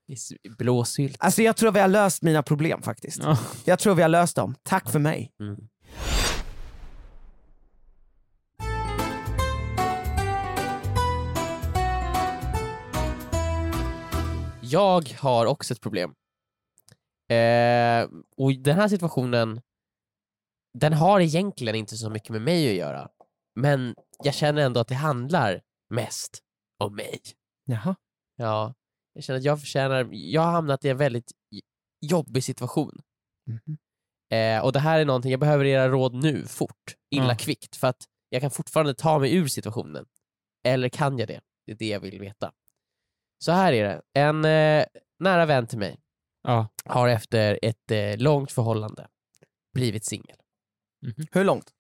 B: Det är sy- Blå sylt.
C: Alltså jag tror vi har löst mina problem faktiskt.
D: Ja.
C: Jag tror vi har löst dem. Tack för mig.
B: Jag har också ett problem. Eh, och den här situationen, den har egentligen inte så mycket med mig att göra. Men jag känner ändå att det handlar mest om mig.
C: Jaha.
B: Ja, jag känner att jag förtjänar, jag har hamnat i en väldigt j- jobbig situation.
C: Mhm.
B: Eh, och det här är någonting, jag behöver era råd nu, fort, illa
D: Ja.
B: kvickt, för att jag kan fortfarande ta mig ur situationen. Eller kan jag det? Det är det jag vill veta. Så här är det, en eh, nära vän till mig
D: Ja.
B: har efter ett eh, långt förhållande blivit singel.
C: Hur långt?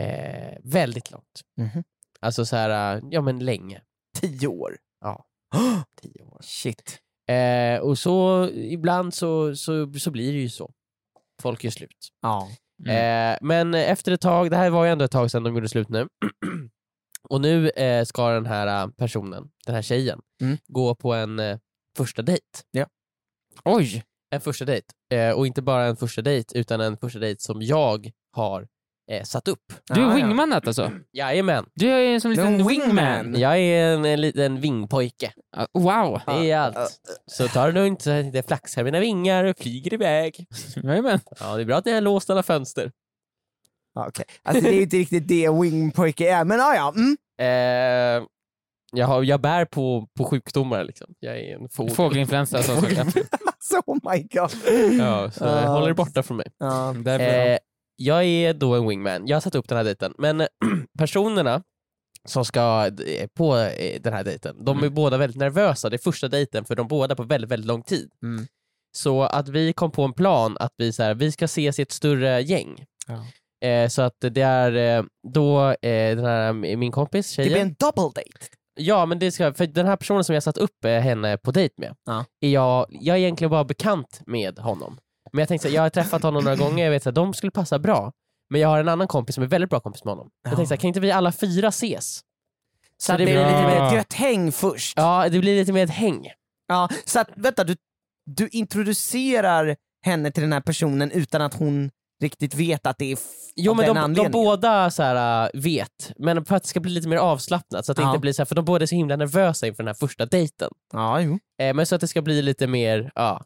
B: Eh, väldigt långt.
C: Mhm.
B: Alltså så här, eh, ja men länge,
C: Tio år.
B: Ja.
C: Tio år. Shit.
B: Eh, och så ibland så, så, så blir det ju så. Folk gör slut.
C: Ja. Mm.
B: Eh, men efter ett tag, det här var ju ändå ett tag sedan de gjorde slut nu. och nu eh, ska den här eh, personen, den här tjejen,
C: Mm.
B: gå på en eh, första dejt.
D: Oj!
B: En första dejt. Eh, och inte bara en första dejt, utan en första dejt som jag har eh, satt upp.
D: Du är
C: Ah, ja.
D: wingmanat alltså?
B: Jajamän.
D: Du är ju som en
C: Du är en
D: liten
C: wingman.
D: wingman.
B: Jag är en, en liten vingpojke.
D: Ah, Wow!
B: Det är allt. Så ta det lugnt, så att det flaxar mina vingar och flyger iväg.
D: Jajamän.
B: Ja, det är bra att jag har låst alla fönster.
C: Ja, okej. Alltså det är ju inte riktigt det wingpojke är, men ja, ja. Mm.
B: Eh, jag, har, jag bär på, på sjukdomar liksom. Jag är en fågel.
D: Fågelinfluensa alltså.
C: Alltså, oh my god.
B: Ja, så
C: Ah.
B: håll er borta från mig.
C: Ja.
D: Därför-
B: Eh, jag är då en wingman. Jag har satt upp den här dejten. Men eh, personerna som ska eh, på eh, den här dejten, de är
D: Mm.
B: båda väldigt nervösa. Det är första dejten för de båda på väldigt, väldigt lång tid.
C: Mm.
B: Så att vi kom på en plan att vi, så här, vi ska ses i ett större gäng. Eh, så att det är eh, då eh, den här, min kompis,
C: Det blir
B: tjejen.
C: en double date.
B: Ja, men det ska, för den här personen som jag satt upp eh, henne på dejt med,
C: Ja.
B: är jag, jag är egentligen bara bekant med honom. Men jag tänkte så här, jag har träffat honom några gånger, jag vet att de skulle passa bra. Men jag har en annan kompis som är väldigt bra kompis med honom. Jag
C: Ja.
B: tänkte så här, kan inte vi alla fyra ses?
C: Så att
B: det
C: det blir
B: blir-
C: lite mer ett
D: Ja.
C: gött häng först.
B: Ja, det blir lite mer ett häng.
C: Ja, så att, vänta, du, du introducerar henne till den här personen utan att hon riktigt vet att det är f-
B: Jo
C: av
B: men
C: den
B: de, de
C: anledningen.
B: båda så här, äh, vet, men för att det ska bli lite mer avslappnat så att det
C: Ja.
B: inte blir så här, för de båda är så himla nervösa inför den här första dejten.
C: Ja, jo.
B: Eh, men så att det ska bli lite mer, ja,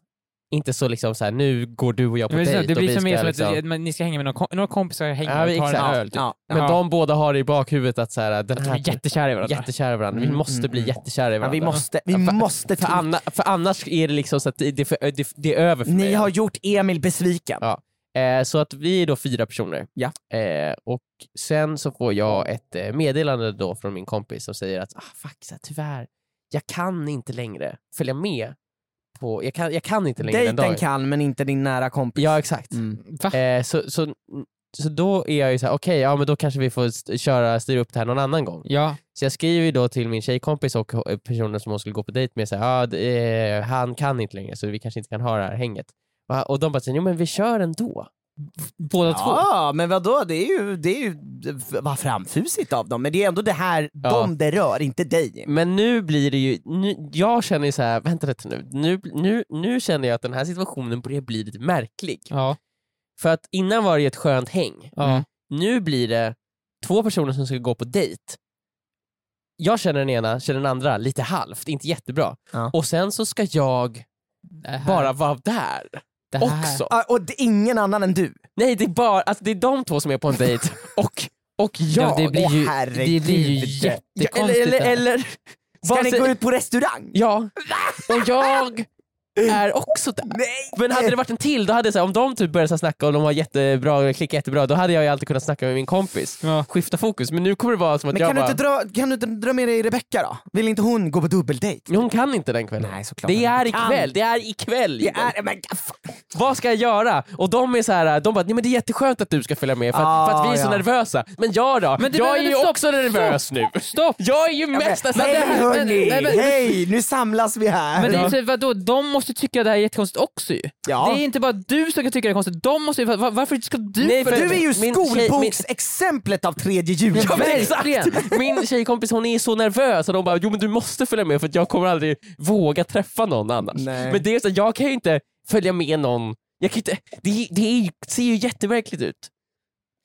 B: inte så liksom så här, nu går du och jag på
D: Men det är så-
B: dejt
D: det
B: och vi
D: blir som
B: ska
D: mer som
B: liksom...
D: att men ni ska hänga med några, kom- några kompisar, hänga
B: Ja,
D: och ta en
B: exakt.
D: öl. Typ.
C: Ja.
B: Men
D: Ja.
B: de båda har i bakhuvudet att så här, den
D: De
B: här
D: är jättekära i varandra.
B: jättekära i varandra, vi
C: Mm,
B: måste
C: mm,
B: bli
C: mm.
B: jättekära i
C: Ja,
B: varandra.
C: vi måste, vi
B: Ja, för-
C: måste
B: för, anna, för annars är det liksom så att det, det, är för- det, det är över för
C: Ni
B: mig.
C: har gjort Emil besviken.
B: Ja. Eh, så att vi är då fyra personer.
C: Ja.
B: Eh, och sen så får jag ett eh, meddelande då från min kompis som säger att ah, fuck, så här, tyvärr, jag kan inte längre följa med. På, jag, kan, jag kan inte längre den dagen.
C: Dejten kan men inte din nära kompis.
B: Ja, exakt.
C: Mm.
D: Va?
B: Eh, så, så, så då är jag ju såhär, okej, ja men då kanske vi får st- köra, styra upp det här någon annan gång.
D: Ja.
B: Så jag skriver ju då till min tjejkompis och h- personen som hon skulle gå på dejt med, så här, ah, det, eh, han kan inte längre så vi kanske inte kan ha det här hänget. Va? Och de bara, säger, jo men vi kör ändå.
D: Båda två?
C: Ja, men vadå, det är ju, det är ju vad framfusigt av dem. Men det är ändå det här
B: Ja.
C: de det rör, inte dig.
B: Men nu blir det ju, nu, jag känner ju så här, vänta lite nu. nu, nu, nu känner jag att den här situationen börjar bli lite märklig.
D: Ja.
B: För att innan var det ju ett skönt häng.
D: ja.
B: Nu blir det två personer som ska gå på dejt. Jag känner den ena, känner den andra lite halvt, inte jättebra.
C: Ja.
B: Och sen så ska jag
D: Det här-
B: bara vara där
D: det här-
B: också.
C: Ja, Och det är ingen annan än du.
B: Nej, det är bara alltså, det är de två som är på en dejt och, och jag.
D: Ja, det blir ju,
C: Åh, herregud.
D: det blir ju
C: Ja,
B: eller,
D: jättekonstigt.
B: eller,
D: det här.
B: eller...
C: Ska
B: Vad
C: ni
B: säger-
C: gå ut på restaurang?
B: Ja, och jag är också där.
C: Nej!
B: Men hade det varit en till, då hade jag så här, om de typ började så här snacka och de var jättebra, klickade jättebra, då hade jag ju alltid kunnat snacka med min kompis.
D: Ja.
B: Skifta fokus, men nu kommer det vara som att
C: Men
B: jag
C: kan,
B: bara...
C: du inte dra, kan du inte dra med dig Rebecca då? Vill inte hon gå på dubbeldejt?
B: Men Hon kan inte den kvällen.
C: Nej, såklart
B: det
C: hon
B: är
C: inte kan.
B: ikväll, det är ikväll.
C: Det
B: Joel.
C: är, men, fan.
B: Vad ska jag göra? Och de är så här, de bara, nej men det är jätteskönt att du ska följa med för att,
C: Ah,
B: för att vi är så
C: ja.
B: nervösa. Men jag då?
D: Men det-
B: jag
D: men-
B: är
D: men
B: ju
D: stopp,
B: också nervös nu.
D: Stopp!
B: Jag är ju mest... alltså,
C: Hej
B: det här-
C: hörni!
D: men- men-
C: Hej! Nu samlas vi här!
D: Men det är ju så, här, vadå, de måste tycka det här är jättekonstigt också ju.
C: Ja.
D: Det är inte bara du som kan tycka det är konstigt, de måste ju, va- varför ska du
B: Nej, för-
D: för
C: Du är ju
B: min tjej- min-
C: skolboksexemplet av tredje juli.
B: Ja, men
D: Verkligen.
B: exakt! Min tjejkompis hon är så nervös och de bara, jo men du måste följa med för att jag kommer aldrig våga träffa någon annars.
C: Nej.
B: Men det är så, jag kan ju inte följa med någon. Jag kan inte, det, det är, ju- ser ju jättemärkligt ut.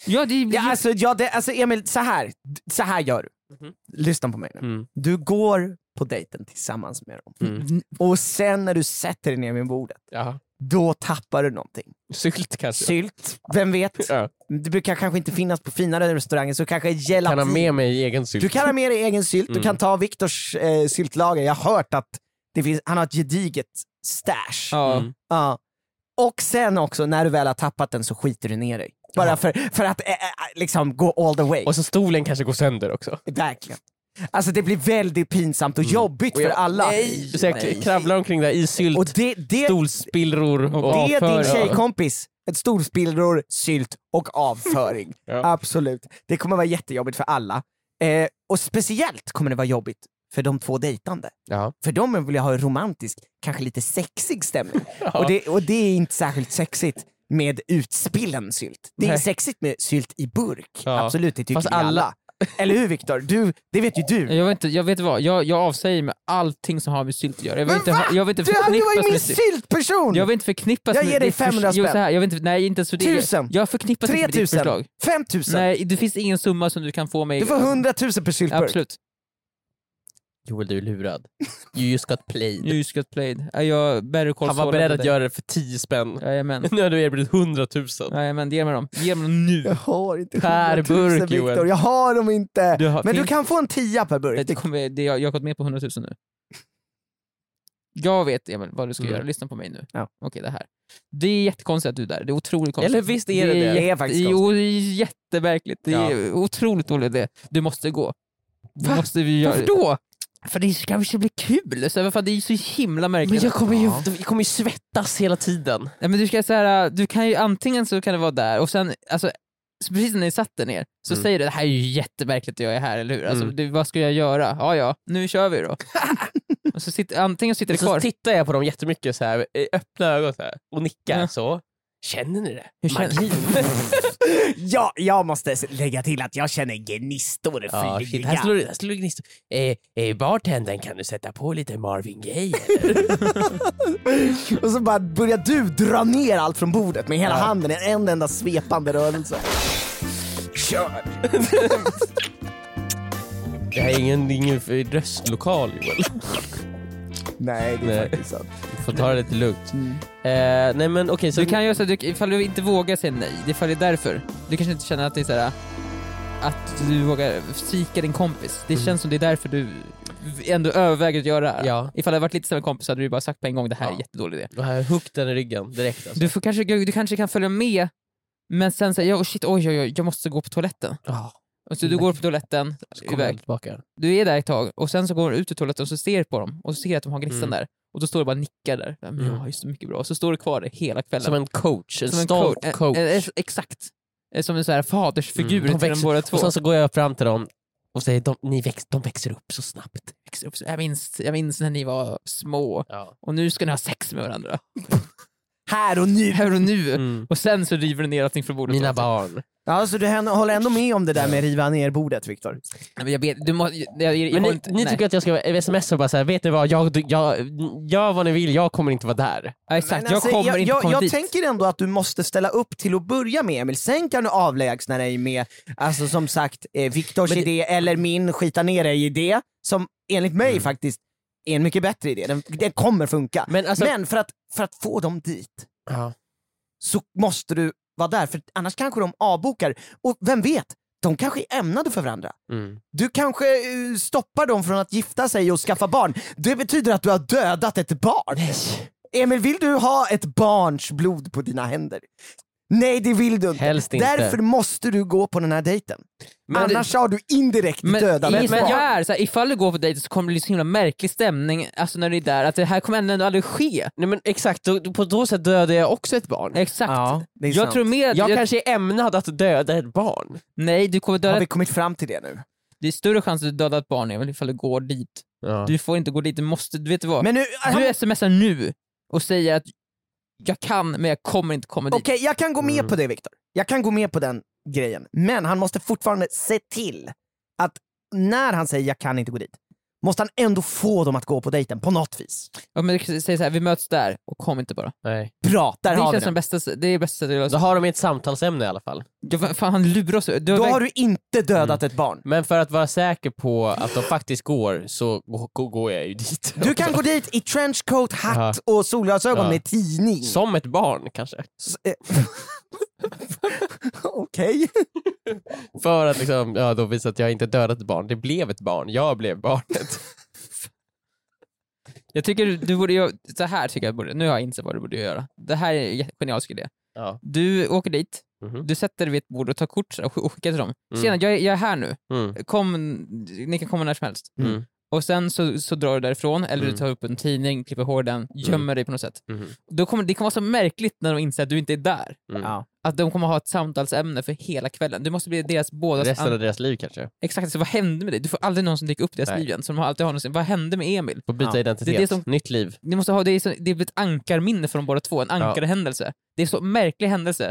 D: Ja, det är,
C: Ja, alltså, ja, det, alltså Emil, så här, så här gör du.
B: Mhm.
C: Lyssna på mig nu.
B: Mm.
C: Du går på dejten tillsammans med dem.
B: Mm.
C: Och sen när du sätter dig ner vid bordet,
B: Ja.
C: då tappar du någonting.
B: Sylt kanske.
C: Sylt, vem vet?
B: Ja.
C: Det brukar kanske inte finnas på finare restauranger, så kanske gelatin.
B: Kan ha med mig egen sylt.
C: Du kan ha med dig egen sylt,
B: Mm.
C: du kan ta Viktors eh, syltlager. Jag har hört att det finns, han har ett gediget stash.
D: ja.
B: Mm.
C: Ja. Och sen också, när du väl har tappat den så skiter du ner dig. Bara
B: Ja.
C: för, för att eh, eh, liksom gå all the way.
B: Och så stolen kanske går sönder också.
C: Verkligen. Alltså det blir väldigt pinsamt och jobbigt
B: Mm. Och jag-
C: för alla.
B: Nej, så jag kravlar omkring där i sylt,
C: Och det, det,
B: stolspillror och,
D: Och
C: det är din
D: avföring.
C: tjejkompis. Ett storspillror, sylt och avföring.
B: Ja.
C: Absolut. Det kommer vara jättejobbigt för alla. Eh, och speciellt kommer det vara jobbigt för de två dejtande.
B: Ja.
C: För de vill jag ha en romantisk, kanske lite sexig stämning.
B: Ja.
C: Och, det, och det är inte särskilt sexigt med utspillen sylt. Det är
D: Nej.
C: sexigt med sylt i burk.
B: Ja.
C: Absolut, det tycker
B: Fast
C: vi alla.
B: alla-
C: Eller hur Viktor? Du, det vet ju du.
D: Jag vet inte, jag vet vad, jag, jag avsäger mig allting som har med sylt att göra. Jag vill
C: Men
D: inte,
C: va?
D: ha- jag vill inte
C: Du, du var ju
D: förknippas
C: min
D: med sylt. Jag
C: syltperson!
D: vill inte förknippas
C: Jag
D: med
C: ger dig
D: ditt
C: 500
D: förs- jo,
C: spänn.
D: så här, jag vill inte, Nej, inte ens för det.
C: Tusen.
D: Jag förknippas inte med ditt
C: 3000,
D: förslag.
C: 5000.
D: Nej, det finns ingen summa som du kan få mig...
C: Du får 100 000 per syltburk.
D: Absolut.
B: Joel, du är lurad. You just got played.
D: You just got played. Ja, Jag better call
B: Han var
D: Saul
B: beredd
D: än
B: att
D: dig.
B: göra det för 10 spänn.
D: Jajamän.
B: Nu har du erbjudit 100 000.
D: Jajamän, ge mig dem. Ge mig dem
C: Jag
D: nu.
C: har inte
D: Per
C: 100 000
D: burk,
C: Viktor,
D: Joel.
C: jag har dem inte.
D: Du har-
C: Men du
D: finns-
C: kan få en tia per burk.
D: Det kommer, det, jag, jag har gått med på 100 000 nu. Jag vet Emil vad du ska
B: Mm.
D: göra, lyssna på mig nu.
C: Ja.
D: Okej, det här. Det är jättekonstigt att du är där, det är otroligt konstigt.
B: Eller visst är det det?
C: Det är
D: jätte-
C: faktiskt
D: Jo, det är jättemärkligt. Det är otroligt dåligt det. Du måste gå. Du måste vi göra.
B: Varför då?
D: För det kanske blir kul, så, här, vad fan, det är ju så himla märkligt.
B: Men jag kommer ju,
C: Ja.
B: jag kommer ju svettas hela tiden.
D: Nej, men du, ska, så här, du kan ju antingen så kan det vara där och sen, alltså, så precis när ni satt där ner så
B: Mm.
D: säger du det här är ju jättemärkligt att jag är här, eller hur? Alltså,
B: Mm.
D: du, vad ska jag göra? Ja, ja, nu kör vi då. och så sitter, antingen sitter det
B: Så
D: kvar.
B: tittar jag på dem jättemycket så här, i öppna ögon så här, och nickar
D: Ja.
B: så. Känner ni det?
D: Hur känner-
C: Ja, jag måste s- lägga till att jag känner gnistor
B: Ja, shit, här
C: flyga.
B: slår, här slår gnistor. Eh, eh, bartendern, kan du sätta på lite Marvin Gaye?
C: Och så bara börjar du dra ner allt från bordet med hela
B: Ja.
C: handen i en enda svepande rörelse. Kör!
B: det här är ingen, ingen för- röstlokal Joel.
C: Nej, det är
B: Nej.
C: faktiskt sant.
B: Du får ta det lite lugnt. Eh, nej men okej, så...
D: Du kan göra så att du, ifall du inte vågar säga nej, ifall det är därför. Du kanske inte känner att det är så här, att du vågar svika din kompis. Det känns som det är därför du ändå överväger att göra det.
B: Mm. Ja.
D: Ifall det hade varit lite sämre kompis hade du bara sagt på en gång det här är
B: Ja.
D: jättedålig idé.
B: Det här, Hugg den i ryggen direkt alltså.
D: Du, får kanske, du kanske kan följa med, men sen säger jag oh shit, oj, oj, oj, jag måste gå på toaletten.
B: Ja,
D: Och så du
B: Nej.
D: går på toaletten,
B: så kommer
D: iväg.
B: den tillbaka.
D: du är där ett tag, och sen så går du ut ur toaletten och så ser du på dem, och så ser du att de har gnistan
B: Mm.
D: där. Och då står du bara och nickar där. Ja, men
B: Mm.
D: Ja, just det, mycket bra. Och så står du kvar där hela kvällen.
B: Som en coach, en
D: Som en
B: stolt
D: coach.
B: coach.
D: Eh, eh, exakt. Eh, Som en så här fadersfigur
B: Mm, de
D: till dem
B: växer-
D: båda två.
B: Och sen så går jag fram till dem och säger de, ni väx, de växer upp så snabbt.
D: Växer upp så- jag, minns, jag minns när ni var små, och nu ska ni ha sex med varandra.
C: Här och nu!
D: Här och nu.
B: Mm.
D: Och sen så river du ner allting från bordet.
B: Mina
D: Och-
B: barn.
C: Ja, så du hän- håller ändå med om det där med riva ner bordet, Viktor?
D: Nej, men Jag vet, du må, jag, jag, jag,
B: Men
D: har
B: ni,
D: inte-
B: ni
D: nej.
B: tycker att jag ska smsa och bara säga, vet ni vad, jag, jag, gör vad ni vill, jag kommer inte vara där.
D: Ja, exakt,
C: Men
D: jag
C: alltså,
D: kommer
C: jag,
D: inte
C: jag,
D: komma
C: jag
D: dit.
C: tänker ändå att du måste ställa upp till att börja med Emil, sen kan du avlägsna dig med, alltså som sagt, eh, Viktors
B: Men det-
C: idé eller min skita ner dig-idé, som enligt mig
D: Mm.
C: faktiskt är en mycket bättre idé. Den, den kommer funka. Men,
B: Men alltså,
C: för, att, för att få dem dit
B: Ja.
C: så måste du vara där, för annars kanske de avbokar. Och vem vet, de kanske är ämnade för varandra.
B: Mm.
C: Du kanske eh, stoppar dem från att gifta sig och skaffa barn. Det betyder att du har dödat ett barn. Emil, vill du ha ett barns blod på dina händer? Nej, det vill du inte.
B: Helst inte.
C: Därför måste du gå på den här dejten.
B: Men-
C: Annars har du indirekt
D: Men,
C: dödat
D: i,
C: ett
D: men
C: barn.
D: jag är så här, ifall du går på dejten så kommer det bli så himla märklig stämning alltså när du är där, att det här kommer ändå aldrig ske.
B: Nej men exakt, då, då- på så sätt dödar jag också ett barn.
D: Exakt.
C: Ja, det är
D: jag
C: sant.
D: tror mer att...
B: Jag
D: jag-
B: kanske är ämnad att döda ett barn.
D: Nej, du kommer
C: Har
D: döda...
C: vi kommit fram till det nu?
D: Det är större chans att du dödar ett barn Emil, ifall du går dit. Du får inte gå dit, du måste... Du vet vad?
C: Men nu,
D: du smsar nu och säger att jag kan, men jag kommer inte komma dit.
C: Okej, jag kan gå med
B: Mm.
C: på det Viktor. Jag kan gå med på den grejen. Men han måste fortfarande se till att när han säger jag kan inte gå dit, måste han ändå få dem att gå på dejten på något vis.
D: Ja, men du säger så här, vi möts där och kom inte bara.
B: Nej.
C: Bra, där
D: det
C: har vi
D: känns som
C: den.
D: bästa, det är bästa sättet att
B: Då
D: lösa
B: har de ett samtalsämne i alla fall.
D: Ja, vad Fan, han lurar oss. Du har
C: Då
D: väg-
C: har du inte dödat ett barn.
B: Men för att vara säker på att de faktiskt går så gå- gå- går jag ju dit.
C: Du kan gå dit i trenchcoat, hatt och solglasögon
B: Ja.
C: med tidning.
B: Som ett barn kanske.
C: S- eh. Okej.
B: För att liksom, ja, då visa att jag inte dödat ett barn. Det blev ett barn. Jag blev barnet.
D: Jag tycker du borde göra, så här tycker jag borde, nu har jag insett vad du borde göra. Det här är en jätte- genialisk idé.
B: Ja.
D: Du åker dit,
B: Mhm.
D: du sätter dig vid ett bord och tar kort så här och skickar till dem.
B: Mm.
D: Tjena, jag, är- jag är här nu.
B: Mm.
D: Kom, ni kan komma när som helst.
B: Mm.
D: och sen så, så drar du därifrån, eller
B: Mm.
D: du tar upp en tidning, klipper hår den, gömmer dig på något sätt.
B: Mhm.
D: Då kommer, det kommer vara så märkligt när de inser att du inte är där.
B: Mm.
C: Ja.
D: Att de kommer ha ett samtalsämne för hela kvällen. Du måste bli deras bådas...
B: Resten
D: An-
B: av deras liv kanske.
D: Exakt, så vad hände med dig? Du får aldrig någon som dyker upp i deras
B: Nej.
D: liv igen. Så de har alltid har någonsin, vad hände med Emil?
B: Får byta
C: Ja.
B: identitet,
D: Det är det som-
B: nytt liv.
D: Ni måste ha, det, är så, det är ett ankarminne från båda två, en ankarhändelse. Det är så märklig händelse.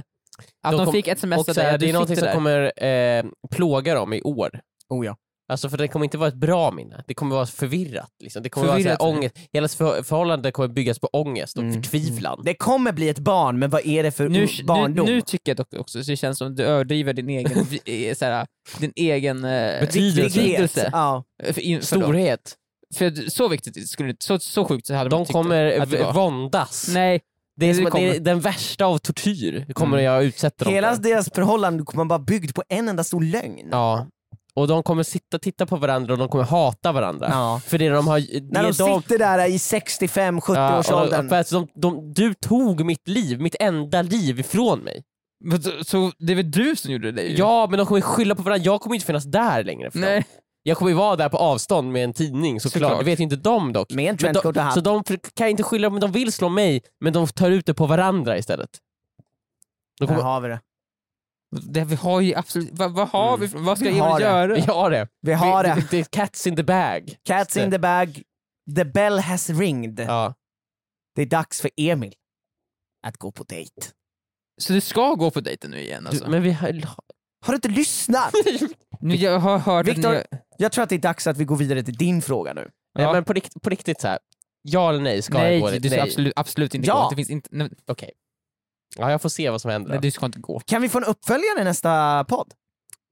D: Att
B: De
D: de,
B: kom-
D: fick ett sms
B: Och
D: att
B: så här,
D: du
B: det är någonting
D: sitter
B: som
D: där.
B: kommer eh, plåga dem i år.
C: Oh, ja.
B: Alltså för det kommer inte vara ett bra minne, det kommer vara förvirrat. Liksom. Det kommer
D: Förvirrat
B: vara så här,
D: minne.
B: ångest. Hela för- förhållandet kommer byggas på ångest och
C: Mm.
B: förtvivlan.
C: Det kommer bli ett barn, men vad är det för
D: Nu,
C: o- barndom?
D: nu, nu tycker jag dock också att det känns som att du överdriver din egen, vi- eh, så här, din egen eh,
B: Betydelse.
D: betydelse.
C: Ja.
D: Eh, För, in- för, dem.
B: Storhet.
D: för att så viktigt skulle det- så, så sjukt så hade man
B: De
D: tyckt
B: kommer
D: att det
B: v-
D: var.
B: våndas.
D: Nej,
B: det är, som,
D: det
B: att det är
D: kommer. Mm.
B: den värsta av tortyr kommer jag utsätta dem
C: Hela
B: för.
C: deras förhållande kommer bara byggt på en enda stor lögn.
B: Ja. Och de kommer sitta och titta på varandra och de kommer hata varandra.
C: Ja.
B: För det de har... Det
C: När de
B: är de,
C: sitter där i 65-70
B: Ja,
C: års
B: och- och
C: åldern.
B: för att de, de, du tog mitt liv, mitt enda liv ifrån mig.
D: men så- så det är väl du som gjorde det?
C: Mm.
D: ju?
B: Ja, men de kommer skylla på varandra. Jag kommer inte finnas där längre för dem.
D: Nej.
B: Jag kommer ju vara där på avstånd med en tidning såklart.
D: Såklart.
B: Det vet ju inte de dock.
C: Med en
B: Men de,
C: trendcoat och
B: så
C: hatt.
B: de för- kan inte skylla, men de vill slå mig, men de tar ut det på varandra istället. De
C: Där
B: kommer,
C: har vi det.
D: Det, vi har ju absolut, vad, vad har
B: Mm.
D: vi, för- vad ska
C: Vi har
D: Emil
C: det.
D: göra?
B: vi har det.
C: Vi har
B: Vi-
C: det.
B: Det är cats in the bag.
C: Cats in the bag. The bell has ringed.
B: Ja.
C: Det är dags för Emil att gå på dejt.
D: Så du ska gå på dejten nu igen alltså?
B: Du, men vi har...
C: Har du inte lyssnat?
D: nu, jag har hört
C: Viktor-
D: att ni...
C: Jag tror att det är dags att vi går vidare till din fråga nu.
B: Nej,
D: Ja.
B: men på riktigt, på riktigt så här. ja eller nej ska jag gå
D: Nej,
B: dit?
D: du ska
B: Nej.
D: absolut, absolut inte
C: Ja.
D: gå. Det finns inte, nej,
B: Okej. Ja, jag får se vad som händer.
D: nej, du ska inte gå.
C: Kan vi få en uppföljare i nästa podd?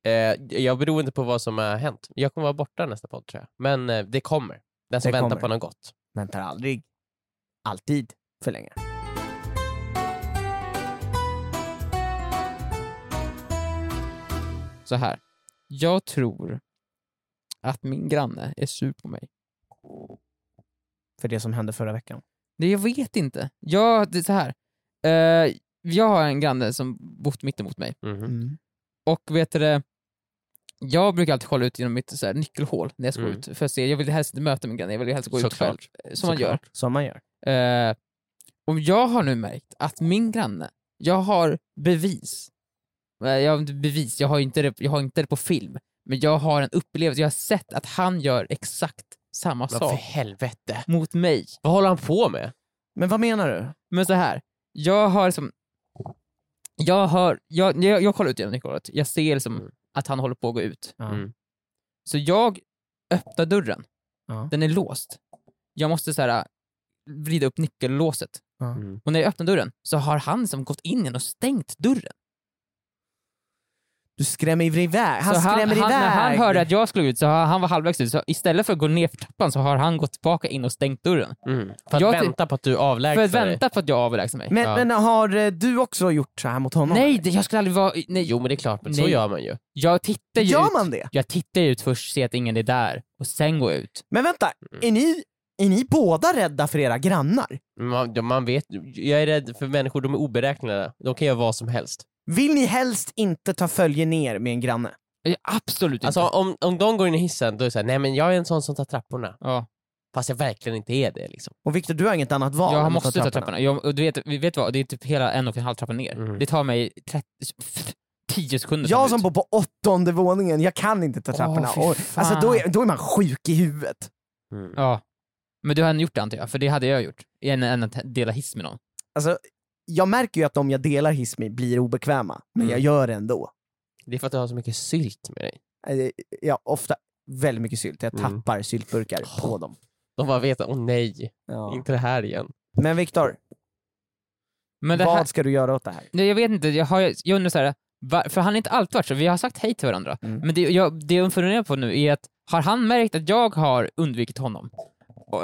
B: Eh, jag beror inte på vad som har hänt. Jag kommer vara borta nästa podd tror jag. Men eh, det kommer. Den som
C: Det
B: väntar
C: kommer.
B: på något gott.
C: Väntar aldrig. Alltid för länge.
D: så här. Jag tror att min granne är sur på mig.
C: För det som hände förra veckan.
D: Det jag vet inte. Jag, det är så här. Eh, jag har en granne som bott mitt emot mig.
B: Mhm.
C: Mm.
D: Och vet du det, jag brukar alltid kolla ut genom mitt så här, nyckelhål när jag ska
B: Mm.
D: gå ut. För att se, jag vill helst inte möta min granne, jag vill helst gå ut själv.
B: Såklart.
D: eh, Som man gör.
B: Såklart.
C: Som man gör.
D: Eh, och jag har nu märkt att min granne, jag har bevis. Eh, Jag har inte bevis, jag har inte, det, jag har inte det på film. Men jag har en upplevelse, jag har sett att han gör exakt samma
B: Men för
D: sak
B: helvete.
D: mot mig.
B: Vad håller han på med?
C: Men vad menar du?
D: Men så här, jag har liksom... Jag hör, jag, jag, jag kollar ut genom nyckelhålet, jag ser liksom
B: Mm.
D: att han håller på att gå ut.
C: Ja.
B: Mm.
D: Så jag öppnar dörren,
C: Ja.
D: den är låst. Jag måste så här äh, vrida upp nyckellåset.
C: Ja.
B: Mm.
D: Och när jag öppnar dörren så har han som gått in igen och stängt dörren.
C: Du skrämmer iväg. Han
D: så
C: skrämmer
D: han,
C: iväg.
D: När han hörde att jag slog ut, så har- han var halvvägs ut, så istället för att gå ner för trappan så har han gått tillbaka in och stängt dörren.
B: Mm. För att
D: Jag ty-
B: vänta på att du
D: För
B: avlägsnar
D: att vänta på att jag avlägsnar mig.
C: men,
B: Ja.
C: men har eh, du också gjort så här mot honom?
D: Nej, det, jag skulle aldrig vara... Nej,
B: dig. Jo men det är klart, men så
D: Nej.
B: gör man ju.
D: Jag tittar ju
C: Gör
D: ut.
C: man det?
D: Jag tittar ut först, ser att ingen är där och sen går jag ut.
C: Men vänta, är ni, är ni båda rädda för era grannar?
B: Man, ja, man vet, jag är rädd för människor, de är oberäkneliga. De kan göra vad som helst.
C: Vill ni helst inte ta följe ner med en granne?
D: Eh, Absolut
B: Alltså
D: inte.
B: om, om de går in i hissen, då är det såhär, nej men jag är en sån som tar trapporna.
D: Ja,
B: Fast jag verkligen inte är det liksom.
C: Och Viktor, du har inget annat val än
D: jag
C: att
D: måste ta
C: trapporna.
D: trapporna. Jag, och du vet, vi vet vad, det är typ hela en och en halv trappa ner.
B: Mm.
D: Det tar mig 30, 10 sekunder. att ta mig
C: Jag
D: ut.
C: som bor på åttonde våningen, jag kan inte ta
D: Åh,
C: trapporna.
D: fy
C: Och-
D: fan.
C: alltså, då, är, då är man sjuk i huvudet.
D: Ja. Men du har ändå gjort det antar jag, för det hade jag gjort. Än, än att dela hiss med någon.
C: Alltså, jag märker ju att de jag delar hiss med blir obekväma, men
B: Mm.
C: jag gör det ändå.
B: Det är för att du har så mycket sylt med dig.
C: Eh, Jag har ofta väldigt mycket sylt, jag
B: Mm.
C: tappar syltburkar på dem.
B: De bara vet, åh nej,
C: Ja.
B: inte det här igen.
C: Men Viktor,
D: Men det här,
C: vad ska du göra åt det här?
D: nej, jag vet inte, jag, har, jag undrar så här, va- för han har inte alltid varit så, vi har sagt hej till varandra.
C: Mm.
D: Men det jag, det jag funderar på nu är att, har han märkt att jag har undvikit honom?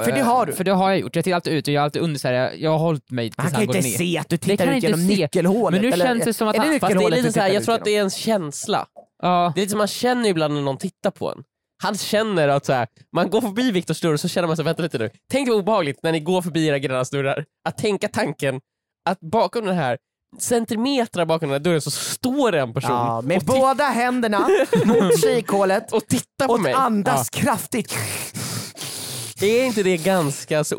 C: För det har du.
D: För det har jag gjort, jag tittar alltid ut och jag har alltid under så här, jag, jag har hållit mig tills
C: Han
D: han,
C: kan ju
D: går
C: inte
D: ner.
C: se att du
D: kan
C: tittar
D: jag
C: ut
D: inte
C: genom
D: se.
C: nyckelhålet.
D: Men nu
C: eller-
D: känns det som att
C: är
D: han-
B: Fast det är
C: nyckelhålet du
B: lite såhär,
C: tittar
B: jag
C: ut
B: tror att
C: genom?
B: det är en känsla.
D: Ja,
B: Det är lite som man känner ibland när någon tittar på en. Han känner att så här, man går förbi Viktors dörr och så känner man så här, vänta lite nu. Tänk vad obehagligt när ni går förbi era grannars dörrar. Att tänka tanken att bakom den här, centimeter bakom den här dörren så står en person
C: Ja, med
B: och, ti-
C: båda händerna mot kikhålet
B: och tittar på
C: och
B: mig.
C: andas kraftigt.
B: Är inte det ganska så
D: Ja,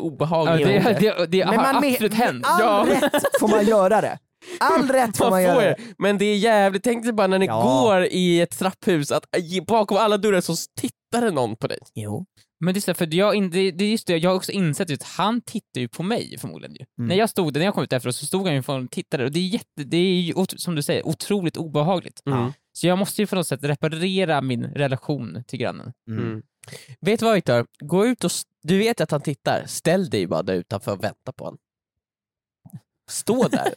B: obehagligt?
D: det, det, det har
C: man med-
D: absolut hänt.
C: All
D: Ja.
C: rätt får man göra det. All rätt får man
B: Man får
C: göra
B: det.
C: det.
B: Men det är jävligt, tänk dig bara när ni
C: Ja.
B: går i ett trapphus, att bakom alla dörrar så tittade någon på dig.
C: Jo.
D: Men det är, så här, för jag, in- det, det är just det, jag har också insett att han tittar ju på mig förmodligen. Ju.
C: Mm.
D: När jag stod där, när jag kom ut därifrån så stod han ju och tittade och det är, jätte, det är ju, ot- som du säger, otroligt obehagligt.
B: Mm.
D: Så jag måste ju på något sätt reparera min relation till grannen.
C: Mm.
B: Mm. Vet du vad Viktor? Gå ut och, s- du vet att han tittar, ställ dig bara där utanför och vänta på honom. Stå där.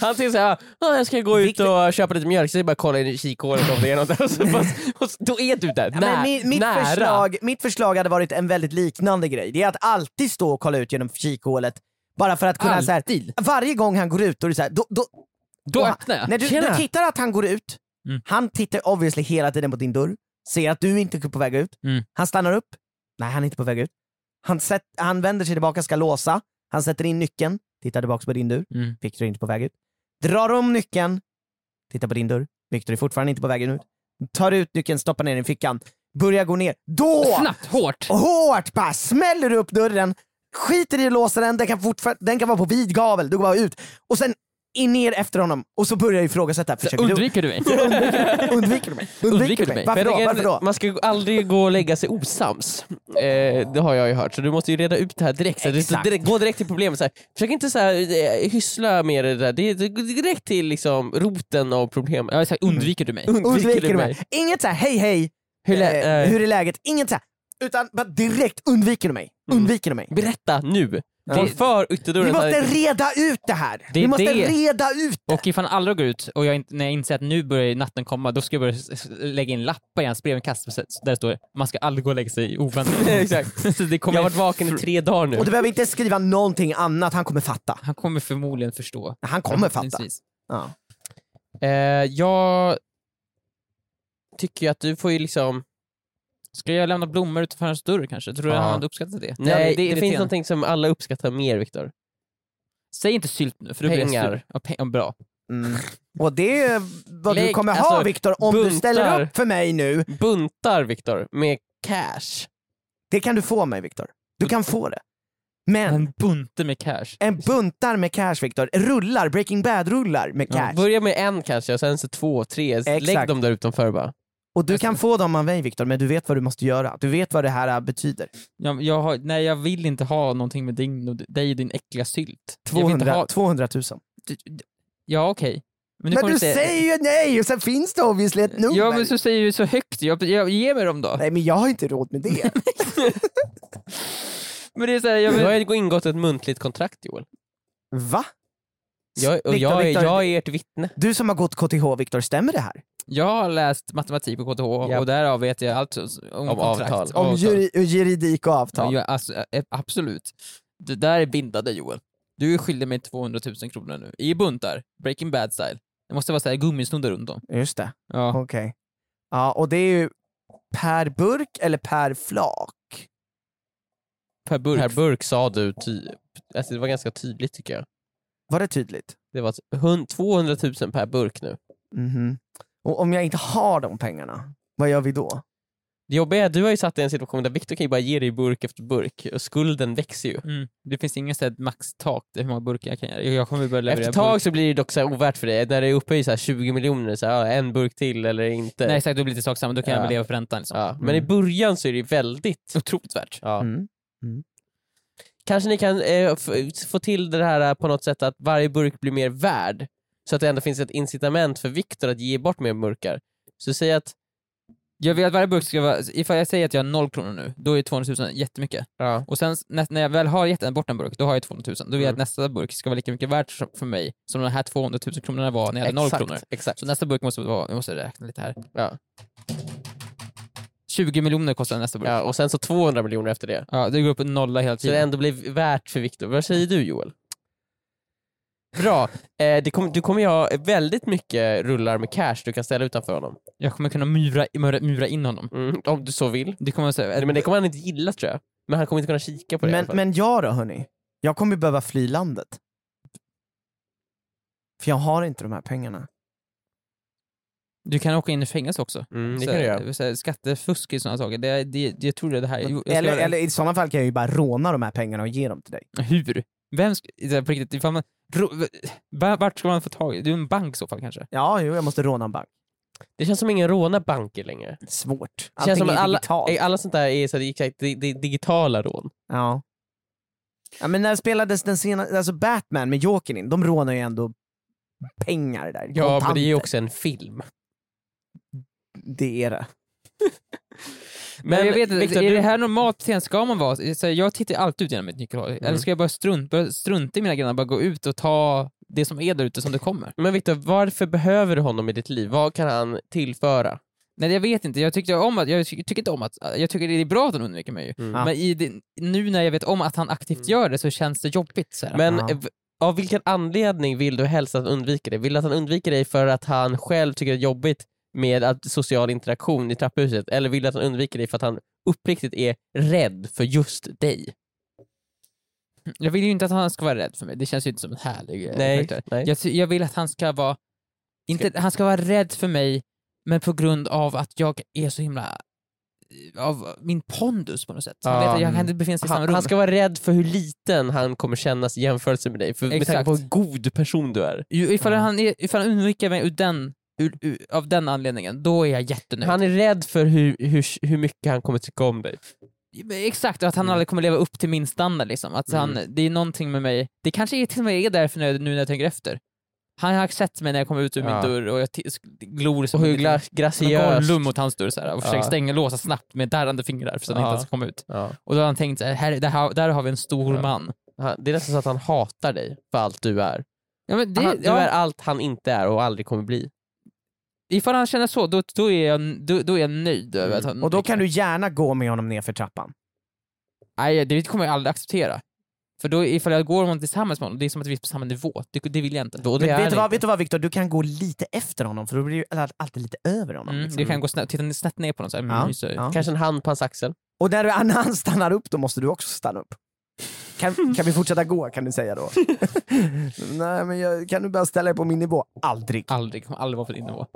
B: Han tänker såhär, ah, jag ska gå ut och köpa lite mjölk, så jag bara kolla in i kikhålet om det är något där. Och så bara, och så, då är du där, nä,
C: Ja, men mi- mitt,
B: nära.
C: förslag, mitt förslag hade varit en väldigt liknande grej. Det är att alltid stå och kolla ut genom kikhålet. Bara för att kunna så här,
D: Alltid.
C: varje gång han går ut, då är det så här, då, då,
D: Då
C: Och han-
D: öppnar jag.
C: när du,
B: Tjena.
C: du tittar att han går ut,
D: Mm.
C: han tittar obviously hela tiden på din dörr, ser att du inte är på väg ut,
D: Mm.
C: han stannar upp, nej han är inte på väg ut, han, sätt, han vänder sig tillbaka, ska låsa, han sätter in nyckeln, tittar tillbaka på din dörr,
D: Mm.
C: Victor är inte på väg ut, drar om nyckeln, tittar på din dörr, Victor är fortfarande inte på väg ut, tar ut nyckeln, stoppar ner den i fickan, börjar gå ner, då!
D: Snabbt, hårt.
C: Hårt bara smäller du upp dörren, skiter i att låsa den, den kan, fortfar- den kan vara på vid gavel, du går bara ut. Och sen in ner efter honom och så börjar jag ifrågasätta. Försöker du,
D: Undviker du mig?
C: undviker du mig?
D: Undviker du mig?
C: Varför då?
B: Men
C: Varför då?
B: Man ska aldrig gå och lägga sig osams. Eh, det har jag ju hört, så du måste ju reda ut det här direkt. Så du-
C: Exakt.
B: direkt gå direkt till problemet. Så här. Försök inte så här, eh, hyssla med det där. Det, det, direkt till liksom, roten av problemet.
D: Jag är så här, undviker du mig?
C: Undviker du mig? Inget så här, hej hej,
B: Hur lä-
C: eh,
B: eh,
C: hur är läget? Inget så här, utan bara direkt undviker du mig? Undviker du mig?
B: Berätta nu!
C: Ja.
B: Håll för
C: Vi
B: ytterdörren. så
C: måste
B: här-
C: reda ut det här!
D: Det är
C: Vi måste
D: det.
C: reda ut det!
D: Och ifall han aldrig går ut och jag, inte- när jag inser att nu börjar natten komma, då ska jag börja s- s- lägga in lappar i hans brevinkast så- så- där det står man ska aldrig gå och lägga sig oväntat.
B: Exakt.
D: Så det
B: Jag
D: kommer,
B: har varit vaken i tre dagar nu.
C: Och du behöver inte skriva någonting annat, han kommer fatta.
D: Han kommer förmodligen förstå.
C: Han kommer fatta.
D: Förhoppningsvis.
C: Ja.
B: Eh, jag tycker ju att du får ju liksom...
D: Ska jag lämna blommor utanför hans dörr kanske? Tror du
B: Ja.
D: han hade uppskattat det?
B: Nej,
D: är
B: det, finns
D: irriterande.
B: någonting som alla uppskattar mer Viktor.
D: Säg inte sylt nu för då blir jag
B: Pengar.
D: sur. Ja, pe- ja, bra.
C: Mm. Och det är vad du
B: Lägg-
C: kommer ha
B: alltså,
C: Viktor om du ställer
B: buntar.
C: upp för mig nu.
B: Buntar Viktor med cash.
C: Det kan du få mig Viktor. Du kan få det. Men
D: En bunte med cash.
C: en buntar med cash Viktor, rullar, Breaking Bad-rullar med cash.
B: Börja med en kanske, och sen så två, tre. Lägg
C: Exakt.
B: dem där utanför bara.
C: Och du kan få dem av mig Viktor, men du vet vad du måste göra. Du vet vad det här äh, betyder.
D: Jag, jag har, nej, jag vill inte ha någonting med din, och dig och din äckliga sylt. Jag vill inte
C: 200,
D: ha,
C: 200 000.
D: du, du- ja, okej. Men,
C: Men
D: kommer
C: du
D: inte-
C: säger ju nej och sen finns det obviously ett nummer.
D: Ja, men så säger du så högt. Jag, jag, ge mig dem då.
C: Nej men jag har inte råd med det.
D: Men det är så här, jag
B: Du
D: vill,
B: har ju ingått ett muntligt kontrakt Joel.
C: Va?
B: Jag, och
C: Viktor,
B: jag, är,
C: Viktor,
B: jag är ert vittne.
C: Du som har gått KTH Viktor, stämmer det här?
D: jag har läst matematik på KTH
B: Japp.
D: och därav vet jag allt om,
B: Om
D: kontrakt.
B: avtal.
C: Om
B: Avtal.
C: juri, juridik och
D: Ja,
C: avtal.
D: jag, alltså, ä- absolut. Det där är bindande Joel. Du är skyldig mig 200 000 kronor nu, i buntar. Breaking bad style. Det måste vara så här gummisnoddar runt om.
C: Just det.
D: Ja.
C: Okej. Ja, och det är ju per burk eller per flak?
D: Per burk.
B: Per Burk sa du, ty, alltså det var ganska tydligt tycker jag.
C: Var det tydligt?
B: Det var hund- 200 000 per burk nu.
C: Mhm. Och om jag inte har de pengarna, vad gör vi då?
B: Det jobbiga är att du har ju satt dig i en situation där Viktor kan ju bara ge dig burk efter burk och skulden växer ju.
D: Mm. Det finns ingen så här maxtak där hur många burkar jag kan göra. Jag kommer börja leverera
B: Efter ett tag så blir det dock så här ovärt för dig, när det är uppe i så här 20 miljoner, så här, ja, en burk till eller inte.
D: Nej exakt, då blir det lite sak samma, då kan jag
B: Ja.
D: väl leva på räntan. Liksom.
B: ja. Men i början så är det ju väldigt...
D: Otroligt värt.
B: Ja.
C: Mm.
B: Kanske ni kan eh, f- få till det här eh, på något sätt att varje burk blir mer värd, så att det ändå finns ett incitament för Viktor att ge bort mer burkar. Så säg att...
D: Jag vill att varje burk ska vara, ifall jag säger att jag har noll kronor nu, då är 200 000 jättemycket.
B: Ja.
D: Och sen s- nä- när jag väl har gett en, bort en burk, då har jag 200 000. Då vill jag att
B: Mm.
D: nästa burk ska vara lika mycket värt som- för mig som de här 200 000 kronorna var när jag hade noll
B: exakt,
D: kronor.
B: Exakt.
D: Så nästa burk måste vara, jag måste räkna lite här.
B: Ja.
D: 20 miljoner kostar nästa burk. Ja.
B: Ja, och sen så 200 miljoner efter det.
D: det går upp en nolla hela
B: Så det
D: tiden.
B: ändå blir värt för Viktor. Vad säger du Joel? Bra. Eh, det kom, du kommer ju ha väldigt mycket rullar med cash du kan ställa utanför honom.
D: Jag kommer kunna mura, mura, mura in honom.
B: Mm, om du så vill.
D: Det kommer, så,
B: Nej, Men det kommer han inte gilla tror jag. Men han kommer inte kunna kika på det i
C: Men,
B: alla fall.
C: men jag då hörni? Jag kommer behöva fly landet. För jag har inte de här pengarna.
D: Du kan åka in i fängelse också.
B: Mm, det
D: Så
B: kan du göra.
D: här- så här, skattefusk och sådana saker. Det, det, det, jag tror det är det här. Jo, jag ska
C: Eller,
D: göra-
C: eller i sådana fall kan jag ju bara råna de här pengarna och ge dem till dig.
D: Hur? Vem ska... det är På riktigt, ifall man, ro, va- vart ska man få tag i... Det är en bank i så fall kanske?
C: Ja, jo, jag måste råna en bank.
B: Det känns som ingen rånar banker längre.
C: Svårt.
B: känns
C: Allting
B: som
C: är
B: att alla-
C: digitalt.
B: Alla sånt där är så här, exakt, det, det, digitala rån.
C: Ja. ja. men när spelades den senaste, alltså Batman med Jokern in, de rånar ju ändå pengar där.
B: Ja, men det är ju
C: Kontanter.
B: också en film.
C: Det är det.
D: Men, jag vet inte,
B: Victor,
D: är
B: du-
D: det här normalt beteende? Ska man vara... Så här, jag tittar alltid ut genom ett nyckelhål. Eller ska jag bara strunt, börja strunta i mina grannar och bara gå ut och ta det som är där ute som det kommer?
B: Men Viktor, varför behöver du honom i ditt liv? Vad kan han tillföra?
D: Nej, jag vet inte. Jag tyckte om att... Jag tycker inte om att... Jag tycker det är bra att han undviker mig ju.
B: Mm.
C: Ja.
D: Men i det, nu när jag vet om att han aktivt gör det så känns det jobbigt. Så här.
B: Men
C: Ja.
B: eh, v- av vilken anledning vill du helst att han undviker dig? Vill du att han undviker dig för att han själv tycker det är jobbigt med att social interaktion i trapphuset? Eller vill du att han undviker dig för att han uppriktigt är rädd för just dig?
D: Jag vill ju inte att han ska vara rädd för mig. Det känns ju inte som en härlig eh,
B: Nej,
D: karaktär.
B: nej.
D: Jag, ty- jag vill att han ska vara... Inte, han ska vara rädd för mig, men på grund av att jag är så himla... Av min pondus på något sätt. Han
B: Ja,
D: vet att jag
B: mm.
D: kan inte befinna sig i samma
B: Han,
D: rum.
B: han ska vara rädd för hur liten han kommer kännas i jämförelse med dig, för, med tanke
D: Exakt.
B: på hur god person du är.
D: Ju- Ifall,
C: Ja.
D: han, är- ifall han undviker mig ur den, ur, ur, av den anledningen, då är jag jättenöjd.
B: Han är rädd för hur, hur, hur mycket han kommer tycka om dig.
D: Exakt, och att han
B: Mm.
D: aldrig kommer leva upp till min standard liksom. Att han, Det är någonting med mig, det kanske är till och med är därför nu, nu när jag tänker efter. Han har sett mig när jag kommer ut ur
B: Ja.
D: min dörr och jag t- sk- glor liksom.
B: Och
D: som
B: hur
D: en liten-
B: gra-
D: som en
B: graciös...
D: Gollum mot hans dörr såhär, och försöker
B: Ja.
D: stänga och låsa snabbt med darrande fingrar för att
B: Ja.
D: han inte ska komma ut.
B: Ja.
D: Och då har han tänkt såhär, här, där, har- där har vi en stor
B: Ja.
D: man.
B: Han, det är nästan så att han hatar dig för allt du är.
D: Ja, men det,
B: han, du
D: ja,
B: är allt han inte är och aldrig kommer bli.
D: ifall han känner så, då, då, är, jag, då, då är jag nöjd över
B: Mm.
D: att han...
C: Och då kan du gärna gå med honom ner för trappan.
D: Nej, det kommer jag aldrig acceptera. För då, ifall jag går honom tillsammans med honom, det är som att vi är på samma nivå. Det, det vill jag inte.
B: Och det
C: Men
B: är
C: vet,
B: han
C: du vad,
B: inte.
C: vet du vad Viktor, du kan gå lite efter honom för då blir du alltid lite över honom.
D: Mm,
C: liksom.
D: det kan gå snett, titta snett ner på honom såhär,
C: Ja,
D: mm, just det.
C: ja.
B: Kanske en hand på hans axel.
C: Och när du- när han stannar upp då måste du också stanna upp. Kan, kan vi fortsätta gå kan du säga då. Nej men jag, kan du bara ställa dig på min nivå? Aldrig.
D: Aldrig, kommer aldrig vara på din nivå.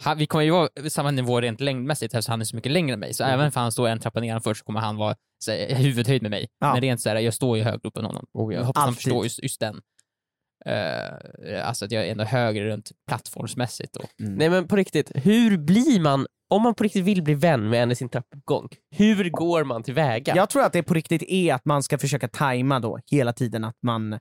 D: Han, vi kommer ju vara på samma nivå rent längdmässigt eftersom han är så mycket längre än mig. Så även om han står en trappa nedanför så kommer han vara så här, huvudhöjd med mig.
C: Ja.
D: Men rent så här, jag står ju högre upp än honom.
B: Oh, ja.
D: Jag hoppas han
C: Alltid.
D: förstår just, just den. Eh, alltså att jag är ändå högre rent plattformsmässigt. Då.
B: Nej men på riktigt, hur blir man, om man på riktigt vill bli vän med en i sin trappuppgång, hur går man tillväga?
C: Jag tror att det på riktigt är att man ska försöka tajma då hela tiden att man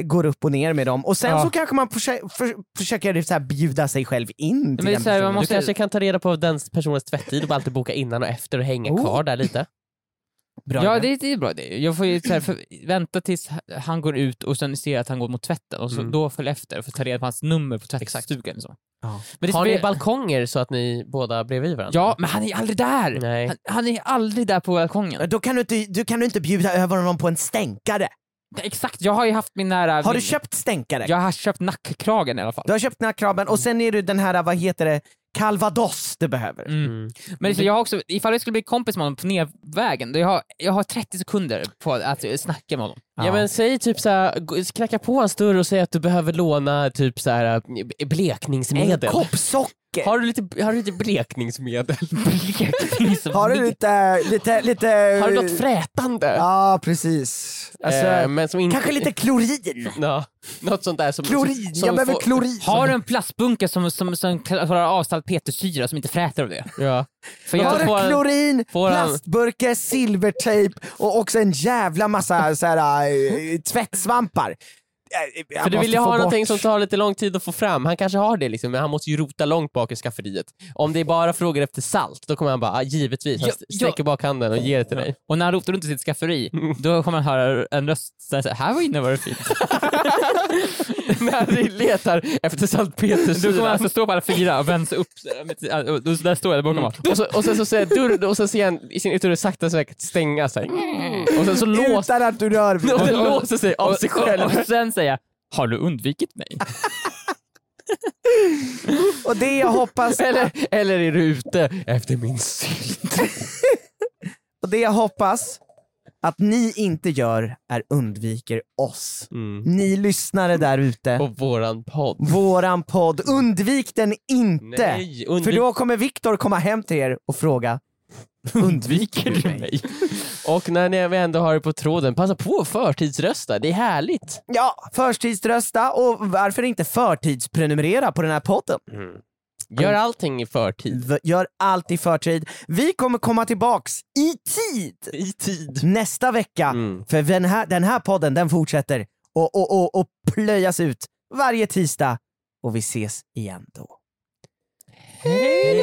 C: går upp och ner med dem. Och sen
D: Ja.
C: så kanske man försö- för- försöker så här bjuda sig själv in till
D: det är
C: den
D: så här, man
C: personen.
D: måste-
B: Du kanske kan ta reda på den personens tvättid och bara alltid boka innan och efter och hänga
C: Oh.
B: kvar där lite.
C: Bra
D: ja,
C: idé.
D: det, är- det är bra det. Jag får ju så här, för, vänta tills han går ut och sen ser jag att han går mot tvätten och så,
B: Mm.
D: då följer jag efter och får ta reda på hans nummer på tvättstugan. Liksom.
C: Ja.
D: Men det
B: Har ni
D: spelar-
B: balkonger så att ni båda bredvid varandra?
D: Ja, men han är aldrig där!
B: Nej.
D: Han, han är aldrig där på balkongen.
C: Då kan du, inte, du kan du inte bjuda över honom på en stänkare.
D: Nej, Exakt, jag har ju haft min nära...
C: Har du
D: min-
C: köpt stänkare?
D: Jag har köpt nackkragen i alla fall.
C: Du har köpt den här krabben och sen är du den här, vad heter det, calvados du behöver.
B: Mm.
D: Men liksom, jag har också, ifall jag skulle bli kompis med honom på nedvägen, då jag har, jag har 30 sekunder på att eh, snacka med honom.
B: Ja men säg typ såhär, gå- knacka på hans dörr och säg att du behöver låna typ såhär eh,
C: En
B: blekningsmedel.
C: kopp socker!
B: Har du lite, har du lite blekningsmedel?
C: Har du lite, lite, lite...
B: Har du något frätande?
C: Ja, precis. Alltså,
B: Eh, men som inte...
C: kanske lite klorin.
B: Ja, något sånt där som...
C: Klorin,
B: som
C: jag behöver
B: får-
C: klorin.
D: Har du en plastbunke som, som, som klarar av salpetersyra som inte fräter av det?
B: Ja.
D: För
C: har
D: jag,
C: du
B: får han-
C: klorin,
B: får han-
C: plastburkar, silvertejp och också en jävla massa så här, eh, tvättsvampar. Eh, jag
B: För du
C: måste
B: vill ju
C: få
B: ha
C: bort-
B: någonting som tar lite lång tid att få fram. Han kanske har det liksom, men han måste ju rota långt bak i skafferiet. Om det är bara frågor efter salt, då kommer han bara, ah, givetvis. Han
D: Ja,
B: st- sträcker bak handen och ger det till dig.
D: och när han rotar runt i sitt skafferi, då kommer han höra en röst som säger här var inne var det fint.
B: När vi letar efter
D: Då kommer han
B: saltpetersyra.
D: alltså stå på alla fyra och vända sig upp, så här med- och då- där står jag där bakom honom.
B: Och, så, och sen så säger dörren, och sen ser han i sin ytterdörr sakta säkert stänga sig. Och sen så låser
C: Utan att du rör vid
B: och
C: det.
B: den låser sig av sig
D: Och,
B: själv.
D: och sen säger jag, har du undvikit mig?
C: Och det jag hoppas
B: Eller, eller är du ute efter min sylt?
C: Och det jag hoppas Att ni inte gör är undviker oss.
B: Mm.
C: Ni lyssnare där ute,
B: På våran podd.
C: våran podd, undvik den inte!
B: Nej, undvik
C: För då kommer Viktor komma hem till er och fråga Undviker du mig?
B: Och när ni ändå har det på tråden, passa på att förtidsrösta. Det är härligt.
C: Ja, förtidsrösta och varför inte förtidsprenumerera på den här podden?
B: Gör allting i förtid.
C: V- Gör allt i förtid. Vi kommer komma tillbaks i tid
B: I tid.
C: nästa vecka
B: Mm.
C: För den här, den här podden den fortsätter och, och, och, och plöjas ut varje tisdag och vi ses igen då.
B: Hej